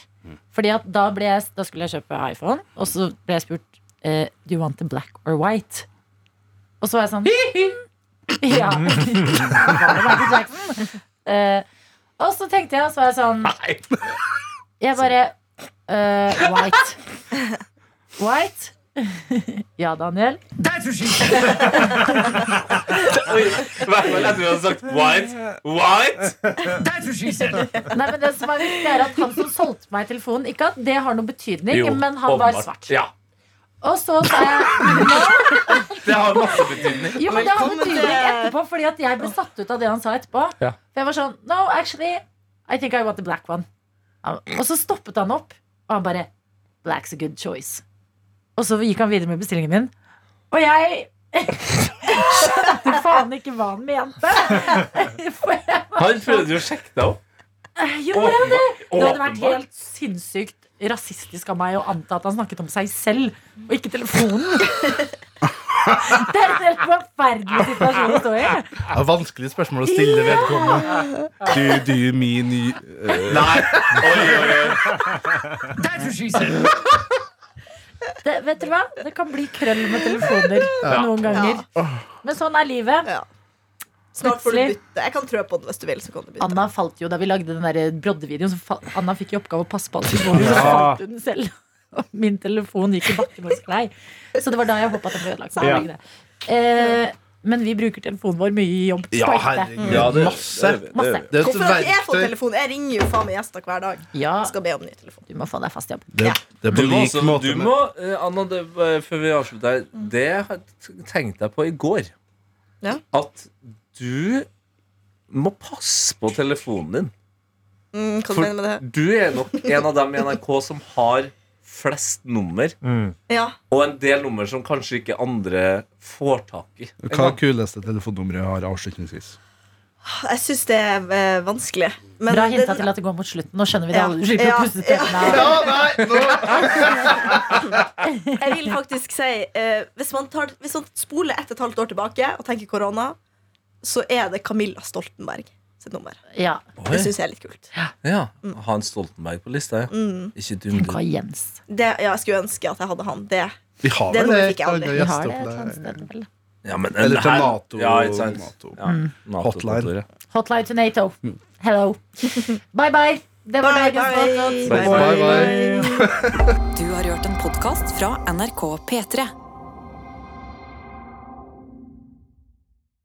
Speaker 2: Fordi at da, ble jeg, da skulle jeg kjøpe iPhone, og så ble jeg spurt eh, Do you want the black or white? Og så var jeg sånn «Mm, Ja. Var det Michael Jackson? Eh, og så tenkte jeg, og så var jeg sånn Jeg bare eh, White. White? ja, Daniel.
Speaker 6: Oi, i hvert fall etter vi hadde sagt white. White!
Speaker 2: Nei, men det som er viktig er at Han som solgte meg telefonen, ikke at det har noen betydning,
Speaker 6: Jo,
Speaker 2: men han var
Speaker 6: åpenbart.
Speaker 2: svart.
Speaker 6: Ja,
Speaker 2: Og så sa jeg
Speaker 6: det har masse betydning.
Speaker 2: Jo, men det har
Speaker 4: Velkommen
Speaker 2: betydning
Speaker 4: til-
Speaker 2: etterpå, fordi at jeg ble satt ut av det han sa etterpå.
Speaker 6: Ja.
Speaker 2: For jeg var sånn No, actually, I think I want the black one. Ja, Og så stoppet han opp, og han bare Black's a good choice. Og så gikk han videre med bestillingen min, og jeg skjønte faen ikke hva han mente. For jeg
Speaker 6: Han prøvde jo å sjekke deg opp.
Speaker 2: gjorde det. Det hadde vært
Speaker 6: Åpenbart.
Speaker 2: helt sinnssykt rasistisk av meg å anta at han snakket om seg selv og ikke telefonen. Det er en helt forferdelig situasjon å stå i.
Speaker 5: Det er vanskelig spørsmål å stille vedkommende. Do, do you mean you, eh,
Speaker 6: Nei. Oi, oi, oi.
Speaker 2: Det, vet dere hva? Det kan bli krøll med telefoner noen ganger. Men sånn er livet.
Speaker 4: Ja. Snart får du
Speaker 2: Plutselig.
Speaker 4: bytte. Jeg kan trø på den hvis du vil. Så kan du bytte.
Speaker 2: Anna falt jo da vi lagde den der broddevideoen. Så fa- Anna fikk i oppgave å passe på alt hun gjorde, så falt hun selv. Og min telefon gikk i bakken og sklei. Så det var da jeg håpa at den ble ødelagt. Så det var ikke det. Eh, men vi bruker telefonen vår mye i jobb.
Speaker 5: Ja,
Speaker 2: På ekte.
Speaker 5: herregud.
Speaker 6: Ja, det-
Speaker 5: Masse.
Speaker 6: det- det-
Speaker 2: Masse.
Speaker 5: Det er
Speaker 4: Hvorfor
Speaker 5: et
Speaker 4: har ikke jeg fått
Speaker 5: verktøy.
Speaker 4: telefon? Jeg ringer jo faen meg gjester hver dag.
Speaker 2: Ja,
Speaker 4: Jeg skal be om ny telefon.
Speaker 2: du må få deg fast jobb.
Speaker 5: Det, det er på
Speaker 6: Du må,
Speaker 5: lik
Speaker 6: også,
Speaker 5: måte
Speaker 6: du
Speaker 5: med-
Speaker 6: må eh, Anna, det, eh, før vi avslutter her Det har jeg tenkt deg på i går
Speaker 4: Ja.
Speaker 6: At du må passe på telefonen din
Speaker 4: Mm, hva du mener
Speaker 6: For
Speaker 4: med det?
Speaker 6: du er nok en av dem i NRK som har flest nummer
Speaker 4: Ja.
Speaker 6: Og en del nummer som kanskje ikke andre får tak i
Speaker 5: Hva er kuleste telefonnummeret jeg har avslutningsvis?
Speaker 4: Jeg syns det er eh, vanskelig. Men
Speaker 2: Bra hinta
Speaker 4: den-
Speaker 2: til at det går mot slutten. Nå skjønner vi det
Speaker 4: Ja.
Speaker 2: alle. Du slipper å
Speaker 4: Ja.
Speaker 2: puste tennene.
Speaker 4: jeg vil faktisk si eh, hvis, man tar, hvis man spoler ett og et halvt år tilbake og tenker korona, så er det Camilla Stoltenberg sitt nummer.
Speaker 2: Ja. Mm.
Speaker 4: Det syns jeg er litt kult.
Speaker 6: Ja, ha en Stoltenberg på lista ja. Ikke dum du
Speaker 2: Hva Jens?
Speaker 4: Det, ja, jeg skulle ønske at jeg hadde han. Det.
Speaker 5: Vi har
Speaker 4: Det
Speaker 5: vel
Speaker 4: nummeret
Speaker 5: det?
Speaker 4: fikk jeg aldri.
Speaker 2: Vi
Speaker 5: et
Speaker 2: har det
Speaker 5: annet
Speaker 2: et eller annet
Speaker 5: gjesteopplegg.
Speaker 2: sted, vel.
Speaker 6: ja, men,
Speaker 5: Eller til
Speaker 6: her-
Speaker 5: NATO-
Speaker 6: ja, ikke sant?
Speaker 2: Mm.
Speaker 5: NATO.
Speaker 6: Ja, NATO-kontoret.
Speaker 5: Hotline.
Speaker 2: Hotline to Nato. Hello. Bye, bye. Det var
Speaker 4: Bye,
Speaker 2: dagens
Speaker 4: bye.
Speaker 2: podkast.
Speaker 5: Bye, bye.
Speaker 1: Du har hørt en podkast fra NRK P3.